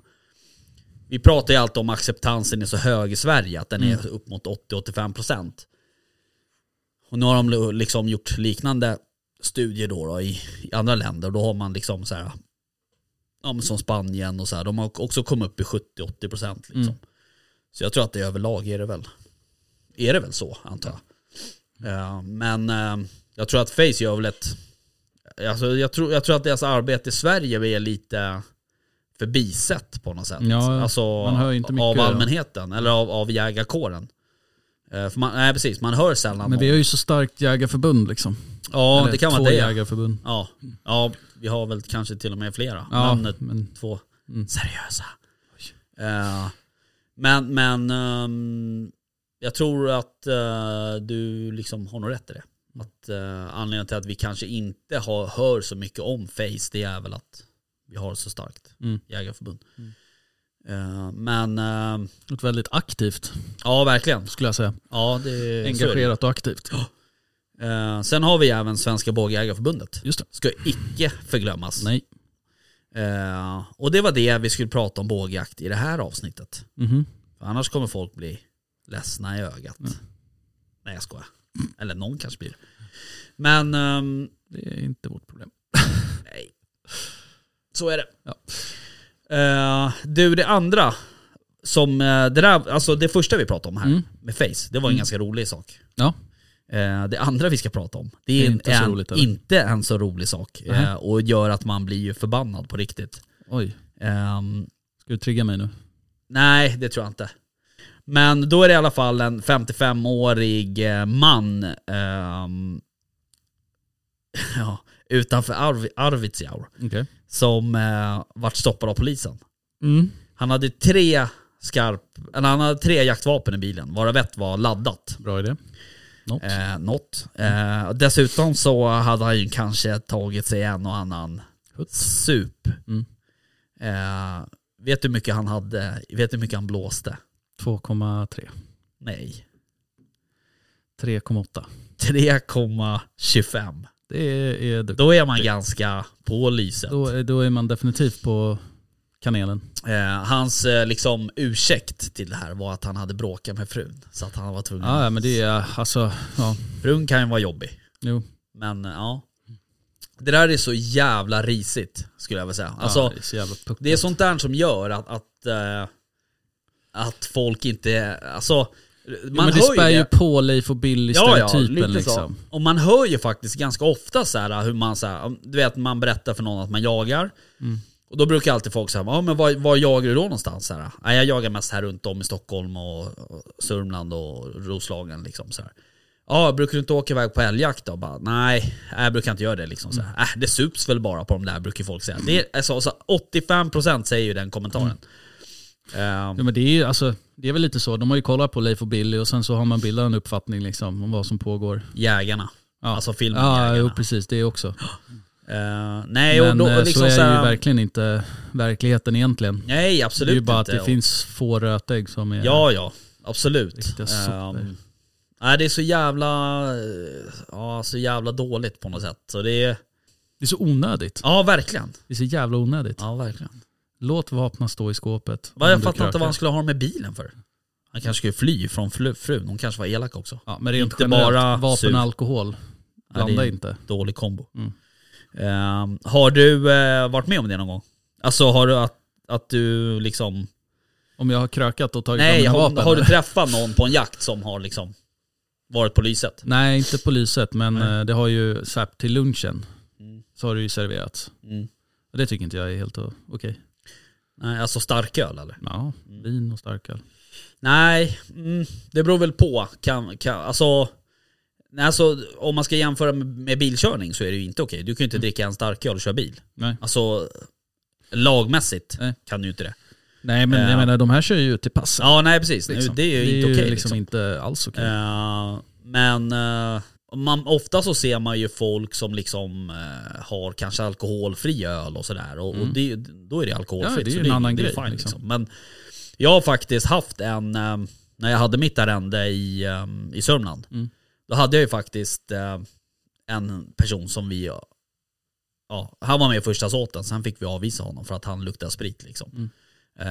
vi pratar ju alltid om acceptansen är så hög i Sverige, att den är upp mot 80-85%. Och nu har de lo- liksom gjort liknande studier då, då i, i andra länder. Då har man liksom så här, ja, men som Spanien och så här, de har också kommit upp i 70-80% liksom.
Mm.
Så jag tror att det överlag är det väl, är det väl så antar jag. Eh, men eh, jag tror att Face gör väl ett, alltså, jag, tror, jag tror att deras arbete i Sverige är lite förbisett på något sätt.
Ja,
alltså
man hör ju inte mycket
av
om det.
allmänheten eller av, av jägarkåren. Eh, för man, nej precis, man hör sällan
Men vi
om-
har ju så starkt jägarförbund liksom.
Ja
Eller
det kan
två
vara det.
jägarförbund.
Ja. ja, vi har väl kanske till och med flera.
Ja,
men eh,
men
två
Mm.
seriösa. Eh, men men ehm, jag tror att eh, du liksom har nog rätt i det.
Mm.
Att, eh, anledningen till att vi kanske inte har, hör så mycket om Face det är väl att vi har ett så starkt
Mm.
jägarförbund. Eh, men eh,
Något väldigt aktivt
ja, verkligen.
skulle jag säga.
Ja, det, så är det.
Engagerat och aktivt.
Eh, sen har vi även Svenska Bågjägarförbundet.
Just det.
Ska icke förglömmas.
Nej.
Eh, och det var det vi skulle prata om bågjakt i det här avsnittet.
Mhm.
För annars kommer folk bli ledsna i ögat. Nej jag skojar. Eller någon kanske blir det. Men ehm,
Det är inte vårt problem.
nej. Så är det.
Ja.
Eh, du det andra. Som eh, det, där, alltså det första vi pratade om här
Mm.
med Face. Det var en ganska rolig sak.
Ja.
Eh, det andra vi ska prata om. Det är,
är
inte,
inte så
en,
roligt, eller?
inte en så rolig sak.
Nej.
Eh, och gör att man blir ju förbannad på riktigt.
Oj,
Ehm,
ska du trigga mig nu?
Nej, det tror jag inte. Men då är det i alla fall en 55-årig eh, man ehm, [laughs] ja, utanför Arv Arvidsjaur
Okej.
som eh, vart stoppad av polisen.
Mm.
Han hade tre skarp, eller han hade tre jaktvapen i bilen, varav ett var laddat.
Bra idé. Något.
Eh, något. Eh, dessutom så hade han ju kanske tagit sig en och annan
Hutt.
sup.
Mm.
Eh, vet du hur mycket han hade, vet du hur mycket han blåste?
2,3.
Nej.
3,8.
3,25.
Det är duktigt.
Då är man ganska på lyset.
Då, är- då är man definitivt på kanelen.
Eh, hans eh, liksom ursäkt till det här var att han hade bråkat med frun. Så att han var tvungen.
Ja, ja, men det är alltså, ja.
Frun kan ju vara jobbig.
Jo.
Men eh, ja. Det där är så jävla risigt skulle jag vilja säga. Alltså,
ja, det är så jävla puckat.
det är sånt där som gör att, att, eh, att folk inte, alltså.
jo, men det
hör ju
spär ju
det.
på Leif och Billy-stereotypen liksom.
så. Och man hör ju faktiskt ganska ofta så här hur man så här, du vet man berättar för någon att man jagar.
Mm.
Och då brukar alltid folk säga, ja men var, var jagar du då någonstans? Så här, "Ja, jag jagar mest här runt om i Stockholm och, och Sörmland och Roslagen liksom så här. Ja, brukar du inte åka iväg på älgjakt då? Bara, nej, nej, jag brukar inte göra det liksom. Så här.
Mm.
Äh, det sups väl bara på de där brukar folk säga. Det är, alltså, så 85% säger ju den kommentaren. Ehm,
Ja, men det, är, ju, alltså, det är väl lite så, de har ju kollat på Leif och Billy och sen så har man bildat en uppfattning liksom, om vad som pågår.
jägarna.
Ja.
Alltså filmen
Ja,
Jägarna.
jo, precis det också.
Ehm, nej, och
Men
då,
eh,
och liksom
så är
så här,
ju verkligen inte verkligheten egentligen.
Nej,
det
absolut
är ju bara
inte.
att det finns få rötägg som är...
Ja, ja. Absolut.
Riktiga sopor.
Ehm, nej, det är så jävla, eh, ja, så jävla dåligt på något sätt. Så det är,
Det är så onödigt.
ja verkligen.
Det är så jävla onödigt.
Ja, verkligen.
Låt vapnen stå i skåpet.
Va,
om
jag
du
fattar inte
krökar.
vad han skulle ha dem med bilen för. Han kanske skulle fly från flu- frun. Hon kanske var elak också.
Ja, men rent
Inte
inte generellt,
bara
bara vapen
sur.
och alkohol. Blanda
det är-
inte.
Dålig kombo.
Mm.
Ehm, har du eh, varit med om det någon gång? Alltså har du att, att du liksom...
Om jag har krökat och tagit
Nej,
fram mina
har,
vapen.
har du
eller?
träffat någon på en jakt som har liksom varit på lyset?
Nej, inte på lyset, men
Nej.
eh, det har ju så här, till lunchen.
Mm.
Så har det ju serverats.
Mm.
Och Det tycker inte jag är helt o- okej.
Nej, alltså starköl eller?
Ja,
Mm.
vin och starköl.
Nej, mm, det beror väl på. Kan, kan, alltså, Nej, alltså, om man ska jämföra med- med bilkörning så är det ju inte okej. Du kan ju inte dricka en starköl och köra bil.
Nej.
Alltså lagmässigt
Nej.
kan du ju inte det.
Nej men
Ja.
jag menar de här kör ju till passen.
Ja nej precis,
liksom.
det är ju inte okej.
liksom,
liksom.
inte alls okej.
Eh, men eh, man, ofta så ser man ju folk som liksom eh, har kanske alkoholfri öl och sådär. Och, och det, då är det alkoholfritt.
Mm. Ja, det är
så
ju en annan
det är
grej,
fine,
liksom.
Men jag har faktiskt haft en, eh, när jag hade mitt ärende i, eh, i Sörmland,
Mm.
då hade jag ju faktiskt eh, en person som vi eh, Ja, han var med i första såten, sen fick vi avvisa honom för att han luktade sprit. Liksom.
Mm.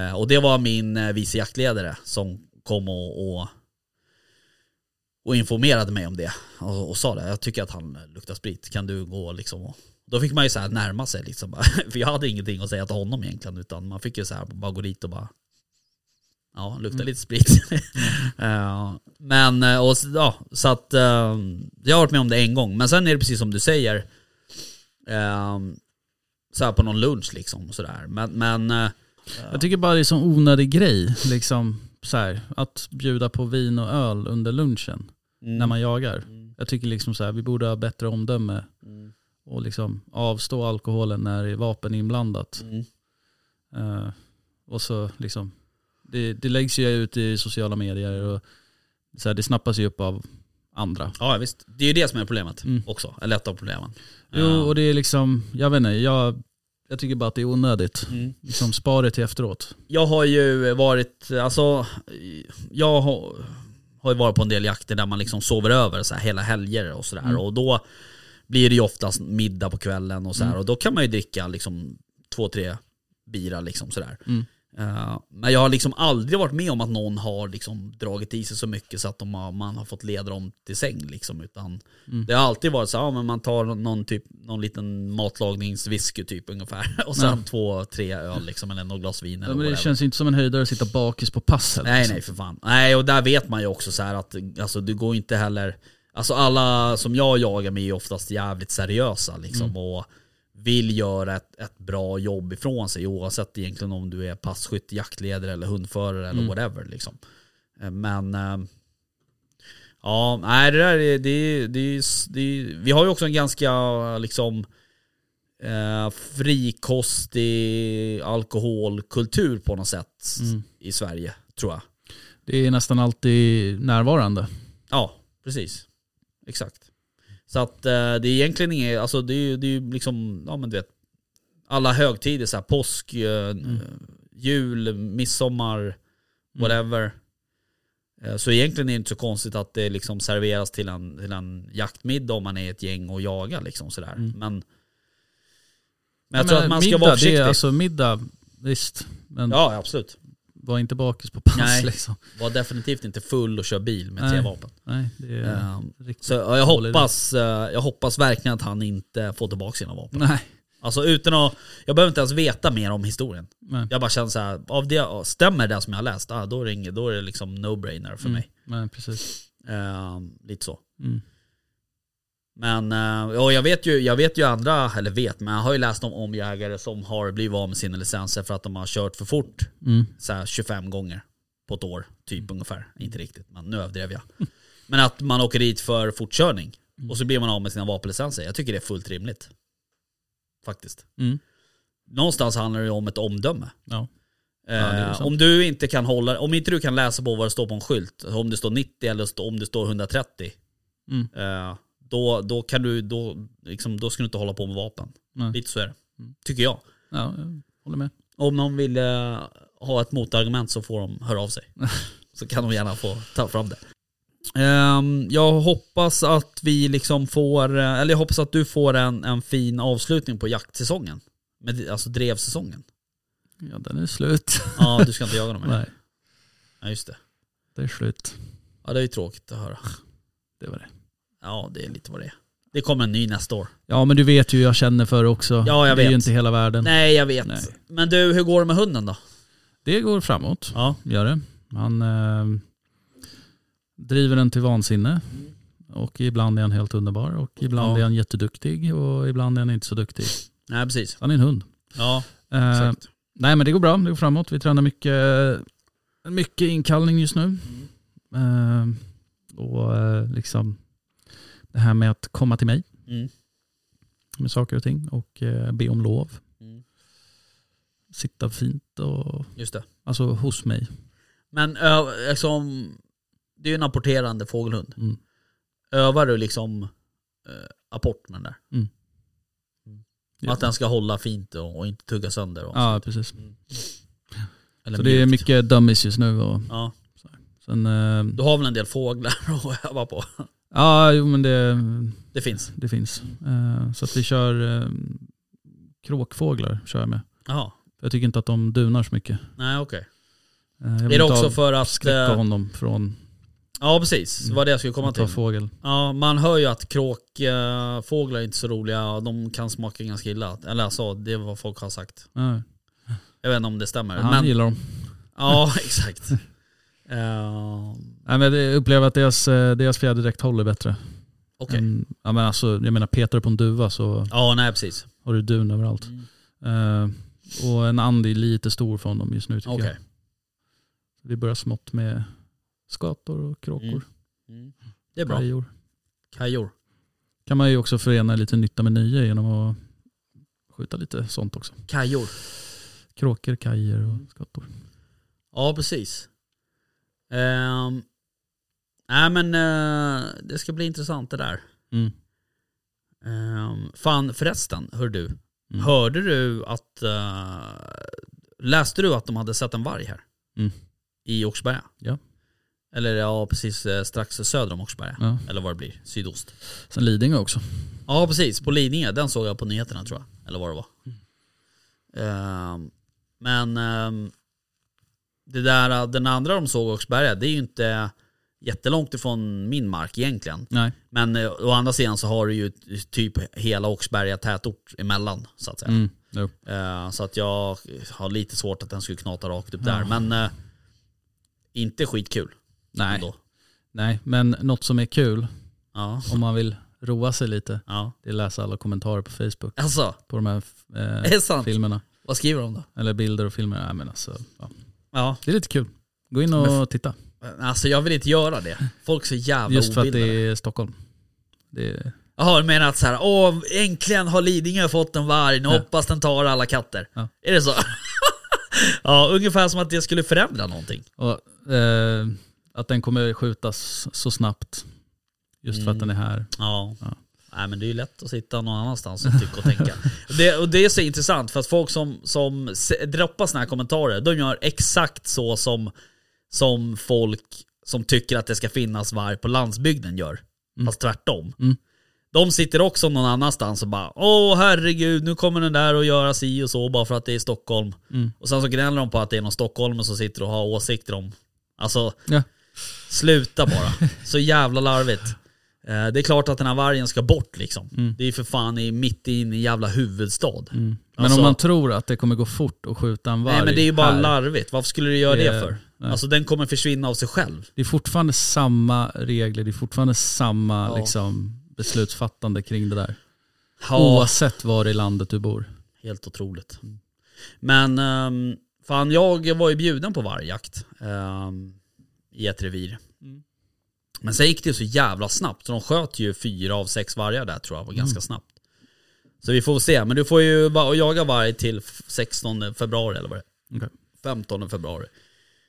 Eh, och det var min eh, vice jaktledare som kom och, och, och informerade mig om det. Och, och sa det, jag tycker att han luktar sprit, kan du gå liksom och... Då fick man ju så här närma sig liksom. bara. [laughs] för jag hade ingenting att säga till honom egentligen, utan man fick ju så här bara gå dit och bara Ja, han luktar lite sprit. [laughs] Eh, men, eh, och, s- ja, så att eh, jag har varit med om det en gång. Men sen är det precis som du säger, Ehm, så här på någon lunch liksom. Sådär. Men, men eh,
Jag tycker bara det är en sån onödig grej. Liksom, så här, att bjuda på vin och öl under lunchen
Mm.
när man jagar. Jag tycker liksom så här, vi borde ha bättre omdöme
Mm.
och liksom avstå alkoholen när det är vapen inblandat.
Mm.
Eh, och så liksom, det, det läggs ju ut i sociala medier och så här, det snappas ju upp av andra.
ja visst. Det är ju det som är problemet
Mm.
också. Eller ett av problemen.
Jo,
Ehm,
och det är liksom, jag vet inte, jag, jag tycker bara att det är onödigt.
Mm.
Liksom, spara det till efteråt.
Jag har ju varit, alltså, jag har, har ju varit på en del jakter där man liksom sover över så här, hela helger och
Mm.
sådär. Och då blir det ju oftast middag på kvällen och så
Mm.
här. Och då kan man ju dricka liksom två, tre bira liksom sådär.
Mm.
Eh, men jag har liksom aldrig varit med om att någon har liksom dragit i sig så mycket så att de har, man har fått leda dem till säng liksom. Utan
Mm.
det har alltid varit så här, ja, men man tar någon, typ, någon liten matlagningswhisky typ ungefär. [laughs] Och sen
Ja.
två, tre öl liksom eller något glas vin eller
Ja, men det
whatever.
känns ju inte som en höjdare att sitta bakis på pass heller.
Nej
liksom.
nej för fan. Nej och där vet man ju också så här att alltså, det går inte heller, alltså alla som jag jagar med är oftast jävligt seriösa liksom
Mm.
och vill göra ett, ett bra jobb ifrån sig oavsett egentligen om du är passkytt, jaktledare eller hundförare
Mm.
eller whatever liksom. Eh, Men eh, ja, nej det där är, det, är- det, är- det, är- vi har ju också en ganska liksom eh, frikostig alkoholkultur på något sätt
Mm.
i Sverige, tror jag.
Det är nästan alltid närvarande.
Ja, precis. Exakt. Så att eh, det är egentligen inget, alltså det är ju det är ju liksom, ja men du vet, alla högtider så här, påsk, eh,
Mm.
jul, midsommar, whatever. Eh, Så egentligen är det inte så konstigt att det liksom serveras till en, till en jaktmiddag om man är ett gäng och jagar liksom sådär. Men, men jag, tror
menar,
att man ska
Mm. middag,
vara
Det
försiktig.
är, alltså middag, visst. Men
Ja, absolut.
var inte bakis på pass
Nej.
liksom.
Var definitivt inte full och kör bil med tre
Nej.
vapen.
Nej, det är
Ehm,
riktigt
Så ja, jag
dålig idé.
hoppas, eh, jag hoppas verkligen att han inte får tillbaka sina vapen.
Nej,
Alltså utan att, jag behöver inte ens veta mer om historien.
nej,
Jag bara känner så här, av det, ja, stämmer det som jag har läst, ah, då, är det inget, då är det liksom no-brainer
Mm.
för mig.
nej precis.
Eh, lite så.
Mm.
Men eh, ja, jag, vet ju, jag vet ju andra, eller vet, men jag har ju läst om, om jägare som har blivit av med sina licenser för att de har kört för fort
Mm.
så här 25 gånger på ett år, typ ungefär. Inte riktigt, men nu överdrev jag. [laughs] Men att man åker dit för fortkörning
Mm.
och så blir man av med sina vapenlicenser. Jag tycker det är fullt rimligt. Faktiskt.
Mm.
Någonstans handlar det ju om ett omdöme.
Ja. det är
Eh,
sant.
om du inte kan hålla, om inte du kan läsa på vad det står på en skylt, om det står 90 eller st- om det står 130,
Mm.
eh, då, då kan du, då, liksom, då ska du inte hålla på med vapen.
Nej.
Lite så är det,
Mm.
tycker jag.
ja, jag håller med.
Om någon vill eh, ha ett motargument så får de höra av
[laughs]
sig. så kan de gärna få ta fram det. Ehm, jag hoppas att vi liksom får, eh, eller jag hoppas att du får en, en fin avslutning på jaktsäsongen. Med, alltså drevsäsongen.
Ja, den är slut.
Ja, du ska inte
[laughs]
jaga dem här.
nej,
Ja, just det.
det är slut.
Ja, det är ju tråkigt att höra.
Det var det.
Ja, det är lite vad det är. Det kommer en ny nästa år.
Ja, men du vet ju hur jag känner för det också.
Ja, jag
det är ju
vet.
inte hela världen.
Nej, jag vet.
Nej.
Men du, hur går det med hunden då?
Det går framåt,
Ja.
gör det. Han eh, driver den till vansinne. Och ibland är han helt underbar och ibland
Ja.
är han jätteduktig och ibland är han inte så duktig.
Nej, precis.
Han är en hund.
Ja,
Eh,
exakt.
Nej men det går bra, det går framåt. Vi tränar mycket, mycket inkallning just nu. Eh, och eh, liksom det här med att komma till mig
Mm.
med saker och ting och eh, be om lov.
Mm.
Sitta fint och,
Just det.
alltså hos mig.
Men ö, liksom, det är ju en apporterande fågelhund.
Mm.
Övar du liksom eh, apport med den där?
Mm.
Och Att den ska hålla fint och, och inte tugga sönder? Och,
Ja, precis.
eller
Så det är
mjukt.
mycket dummies just nu. Och
Ja.
sen, eh,
Du har väl en del fåglar [laughs] att öva på?
ja, jo men det,
Det finns?
det finns. Eh, så att vi kör eh, kråkfåglar kör jag med.
Jaha.
Jag tycker inte att de dunar så mycket.
Nej okej.
Eh, jag vill
Är det
inte
också
av-
för att...
skräcka
eh,
honom från
Ja precis,
Mm.
det var det jag skulle komma
att ta
till.
fågel.
Ja, man hör ju att kråkfåglar är inte så roliga, de kan smaka ganska illa. Eller alltså, det är vad folk har sagt.
Ja,
Jag vet inte om det stämmer.
han
men,
gillar dem.
ja, [laughs] exakt. Ehm,
Nej, men jag upplever att deras, eh, deras fjäderdräkt håller bättre.
Okej.
Än- ja, men alltså, jag menar petar du på en duva så
Ja, nej precis.
har du dun överallt. Eh, och en and är lite stor för honom just nu tycker
Okej.
jag. Vi börjar smått med skator och
Mm,
kråkor.
Det är bra.
kajor.
Kajor.
Kan man ju också förena lite nytta med nöje genom att skjuta lite sånt också.
Kajor.
Kråkor, kajor
Mm.
och skator.
Ja, precis. Ehm, nej men eh, det ska bli intressant det där.
Mm.
Ehm, fan förresten, hör du.
Mm.
Hörde du att... eh, läste du att de hade sett en varg här?
Mm.
I Oxberga?
Ja.
Eller ja, precis eh, strax söder om Oxberga.
Ja.
Eller vad det blir, sydost.
Sen Lidingö också.
Ja precis, på Lidingö. Den såg jag på nyheterna tror jag. Eller vad det var. Ehm, men ehm, det där, den andra de såg i Oxberga, det är ju inte jättelångt ifrån min mark egentligen.
Nej.
Men eh, å andra sidan så har du ju typ hela Oxberga tätort emellan så att säga.
Mm. Jo.
Eh, så att jag har lite svårt att den skulle knata rakt upp där. Men eh, inte skitkul.
Nej.
ändå.
Nej, men något som är kul
Ja.
om man vill roa sig lite,
ja.
det är att läsa alla kommentarer på Facebook
Alltså,
på de här
är det
eh,
sant?
filmerna.
Vad skriver de då?
Eller bilder och filmer. Nej, men alltså, ja.
Ja.
Det är lite kul. Gå in och titta.
Alltså jag vill inte göra det. Folk är så jävla
Just för att det
obildade.
är Stockholm. Det är,
Jaha, du menar att så här, åh, äntligen har Lidingö fått en varg, nu hoppas den tar alla katter.
Ja.
Är det så? [laughs] ja, ungefär som att det skulle förändra någonting.
och, eh, att den kommer skjutas så snabbt. Just för
Mm.
att den är här.
Ja. Nej men det är ju lätt att sitta någon annanstans och tycka och tänka. Det, och det är så intressant för att folk som, som s- droppar såna här kommentarer, de gör exakt så som, som folk som tycker att det ska finnas varg på landsbygden gör. Fast tvärtom. De sitter också någon annanstans och bara Åh herregud, nu kommer den där och göra si och så bara för att det är Stockholm. Och sen så gnäller de på att det är någon stockholmare som sitter och har åsikter om... Alltså,
Ja.
Sluta bara. Så jävla larvigt. Eh, Det är klart att den här vargen ska bort liksom. Det är ju för fan i, mitt in i jävla huvudstad.
Mm. Men
Alltså-
om man tror att det kommer gå fort att skjuta en varg
Nej men det är ju bara
här,
larvigt. Varför skulle du göra det,
Det är-
för?
nej.
Alltså den kommer försvinna av sig själv.
Det är fortfarande samma regler, det är fortfarande samma
Ja.
liksom, beslutsfattande kring det där.
Ja,
Oavsett var i landet du bor.
helt otroligt. Men ehm, fan jag var ju bjuden på vargjakt ehm, i ett revir. Men sen gick det ju så jävla snabbt så de sköt ju fyra av sex vargar där tror jag, var ganska snabbt. Så vi får väl se, men du får ju va- jaga varg till f- 16 februari eller vad det är. 15 februari.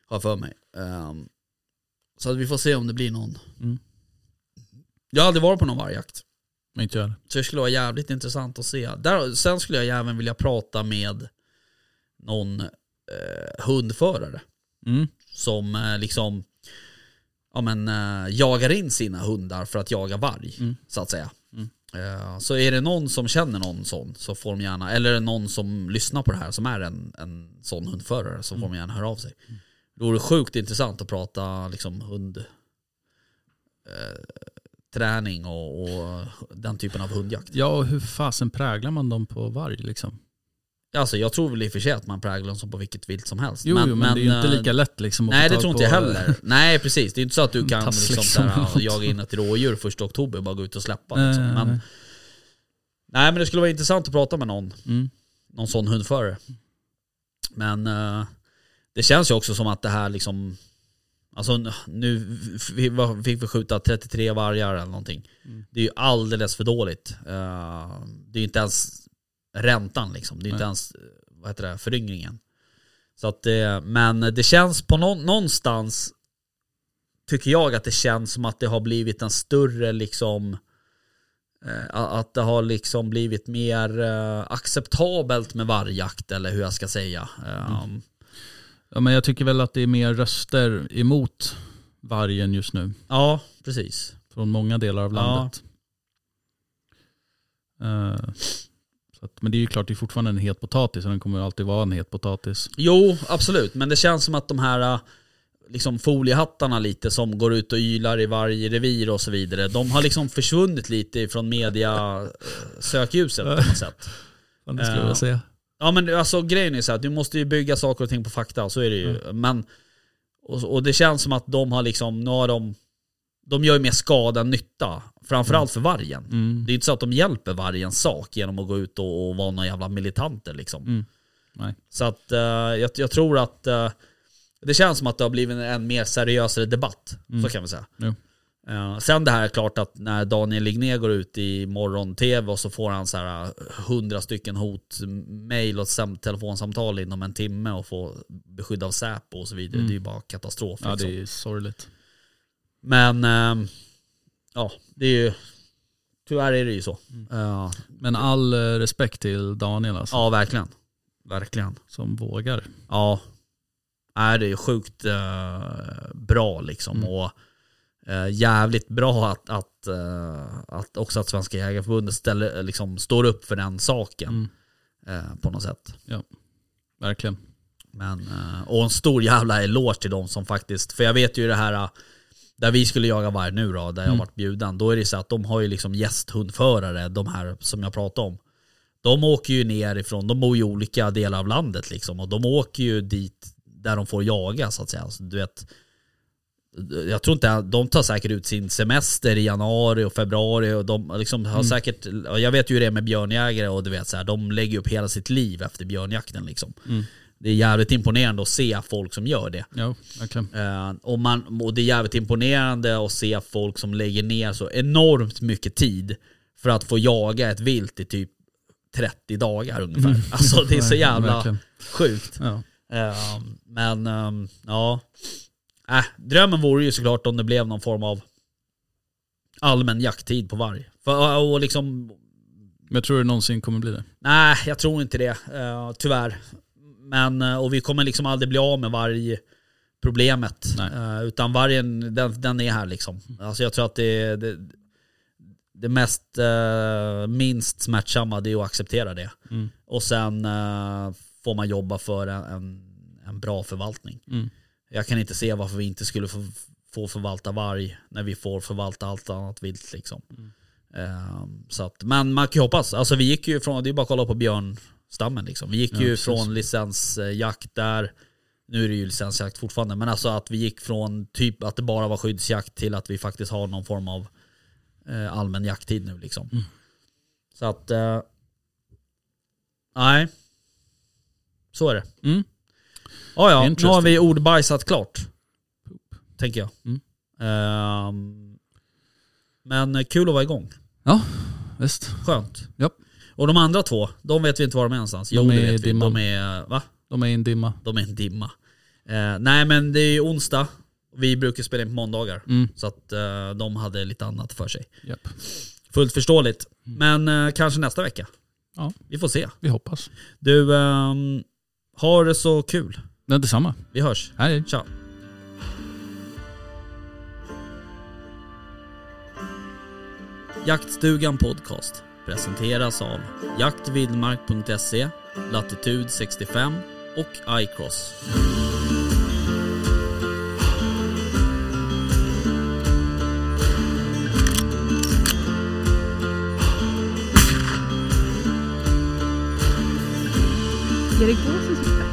Har jag för mig. Ehm, så att vi får se om det blir någon.
Mm.
Jag har aldrig varit på någon vargjakt.
Men inte jag heller.
Så det skulle vara jävligt intressant att se. Där, sen skulle jag även vilja prata med någon eh, hundförare.
Mm.
Som eh, liksom ja, men, eh, jagar in sina hundar för att jaga varg. Så att säga. Eh, så är det någon som känner någon sån så får de gärna, eller är det någon som lyssnar på det här som är en, en sån hundförare så får de gärna höra av sig. Det vore sjukt intressant att prata liksom hund eh, träning och, och den typen av hundjakt.
Ja, och hur fasen präglar man dem på varg liksom?
Alltså jag tror väl i och för sig att man präglar dem som på vilket vilt som helst.
Jo, jo men, det är ju inte
eh,
lika lätt liksom att
Nej
få
det
tag
tror inte
på-
jag heller. Nej precis, det är inte så att
[laughs]
du kan
Tass
liksom,
liksom
där,
eller något.
jaga in ett rådjur första oktober och bara gå ut och släppa.
Nej,
Liksom. Men,
nej.
nej men det skulle vara intressant att prata med någon,
Mm.
någon sån hundförare. Men eh, det känns ju också som att det här liksom Alltså n- nu f- vi var- fick vi skjuta 33 vargar eller någonting. Det är ju alldeles för dåligt. Eh, Det är ju inte ens räntan liksom. Det är ju inte ens eh, vad heter det, föryngringen. Så att, eh, men det känns på nå- någonstans tycker jag att det känns som att det har blivit en större liksom eh, att det har liksom blivit mer eh, acceptabelt med vargjakt eller hur jag ska säga. Eh,
Ja, men jag tycker väl att det är mer röster emot vargen just nu.
Ja, precis.
Från många delar av
Ja.
landet. Eh, så att, men det är ju klart, det är fortfarande en het potatis och den kommer ju alltid vara en het potatis.
Jo, absolut. Men det känns som att de här eh, liksom foliehattarna lite som går ut och ylar i varje revir och så vidare. De har liksom försvunnit lite från media eh, sökljuset på något sätt.
det
skulle jag vilja
säga.
Ja men alltså grejen är så här, att du måste ju bygga saker och ting på fakta, så är det ju.
Mm.
Men, och, och det känns som att de har liksom, nu har de, de gör ju mer skada än nytta. Framförallt för vargen.
Mm.
Det är ju inte så att de hjälper vargens sak genom att gå ut och, och vara några jävla militanter liksom.
Mm. Nej.
Så att eh, jag, jag tror att eh, det känns som att det har blivit en, en mer seriösare debatt.
Mm.
Så kan vi säga.
Jo.
Eh, sen det här är klart att när Daniel Ligné går ut i morgon-tv och så får han så här äh, hundra stycken hot, mejl och sam- telefonsamtal inom en timme och får beskydd av Säpo och så vidare. Det är ju bara katastrof.
Mm. Ja,
liksom.
det är sorgligt.
Men ehm, ja, det är ju... Tyvärr är det ju så.
Mm.
Ja.
Men all eh, respekt till Daniel alltså,
ja, verkligen. Verkligen.
som vågar.
Ja. Nej, det är sjukt eh, bra liksom. Och eh, jävligt bra att, att, eh, att också att Svenska Jägareförbundet ställer, eh, liksom, står upp för den saken. Eh, på något sätt.
Verkligen.
Men, eh, och en stor jävla eloge till dem som faktiskt, för jag vet ju det här eh, där vi skulle jaga varg nu då, där jag varit bjuden, då är det så att de har ju liksom gästhundförare, de här som jag pratade om. De åker ju ner ifrån, de bor i olika delar av landet liksom och de åker ju dit där de får jaga så att säga. Så, du vet, jag tror inte, de tar säkert ut sin semester i januari och februari och de liksom har säkert, och jag vet ju hur det är med björnjägare och du vet så här, de lägger upp hela sitt liv efter björnjakten liksom. Det är jävligt imponerande att se folk som gör det.
Ja, verkligen.
Eh, och, man, och det är jävligt imponerande att se folk som lägger ner så enormt mycket tid för att få jaga ett vilt i typ 30 dagar ungefär. Alltså det är
[laughs]
så
Ver-
jävla
verkligen.
sjukt.
Ja.
Eh, men ehm, ja, äh, drömmen vore ju såklart om det blev någon form av allmän jakttid på varg. För, och liksom
Men jag tror det någonsin kommer bli det.
Nej, jag tror inte det. eh, tyvärr. Men, eh, och vi kommer liksom aldrig bli av med vargproblemet.
Nej.
Eh, utan vargen, den, den är här liksom. Alltså jag tror att det, det, det mest, eh, minst smärtsamma det är att acceptera det.
Mm.
Och sen eh, får man jobba för en, en, en bra förvaltning.
Mm.
Jag kan inte se varför vi inte skulle få, få förvalta varg när vi får förvalta allt annat vilt liksom.
Mm.
Ehm, så att, men man kan ju hoppas. Alltså vi gick ju från, det är bara att kolla på björnstammen liksom. Vi gick ju
precis.
från licensjakt där, nu är det ju licensjakt fortfarande, men alltså att vi gick från typ att det bara var skyddsjakt till att vi faktiskt har någon form av eh, allmän jakttid nu liksom.
Mm.
Så att, eh, nej. Så är det.
Mm.
Ja, ja, nu
Interesting.
har vi ordbajsat klart. Tänker jag.
Mm.
Ehm, men kul att vara igång.
Ja, visst.
Skönt.
Japp.
Och de andra två, de vet vi inte var de är någonstans. Jo,
De
det
är i
vet vi.
dimman.
De är, va?
De är i en dimma.
De är en dimma. Eh, nej, men det är ju onsdag. Vi brukar spela in på måndagar.
Mm.
Så att eh, de hade lite annat för sig.
Japp.
Fullt förståeligt. Men eh, kanske nästa vecka.
Ja.
Vi får se.
Vi hoppas.
Du, ehm, har det så kul.
Det är detsamma.
Vi hörs.
Hej.
Tja. Jaktstugan Podcast presenteras av jaktvildmark.se, Latitude 65 och iCross.
Erik Gåsen som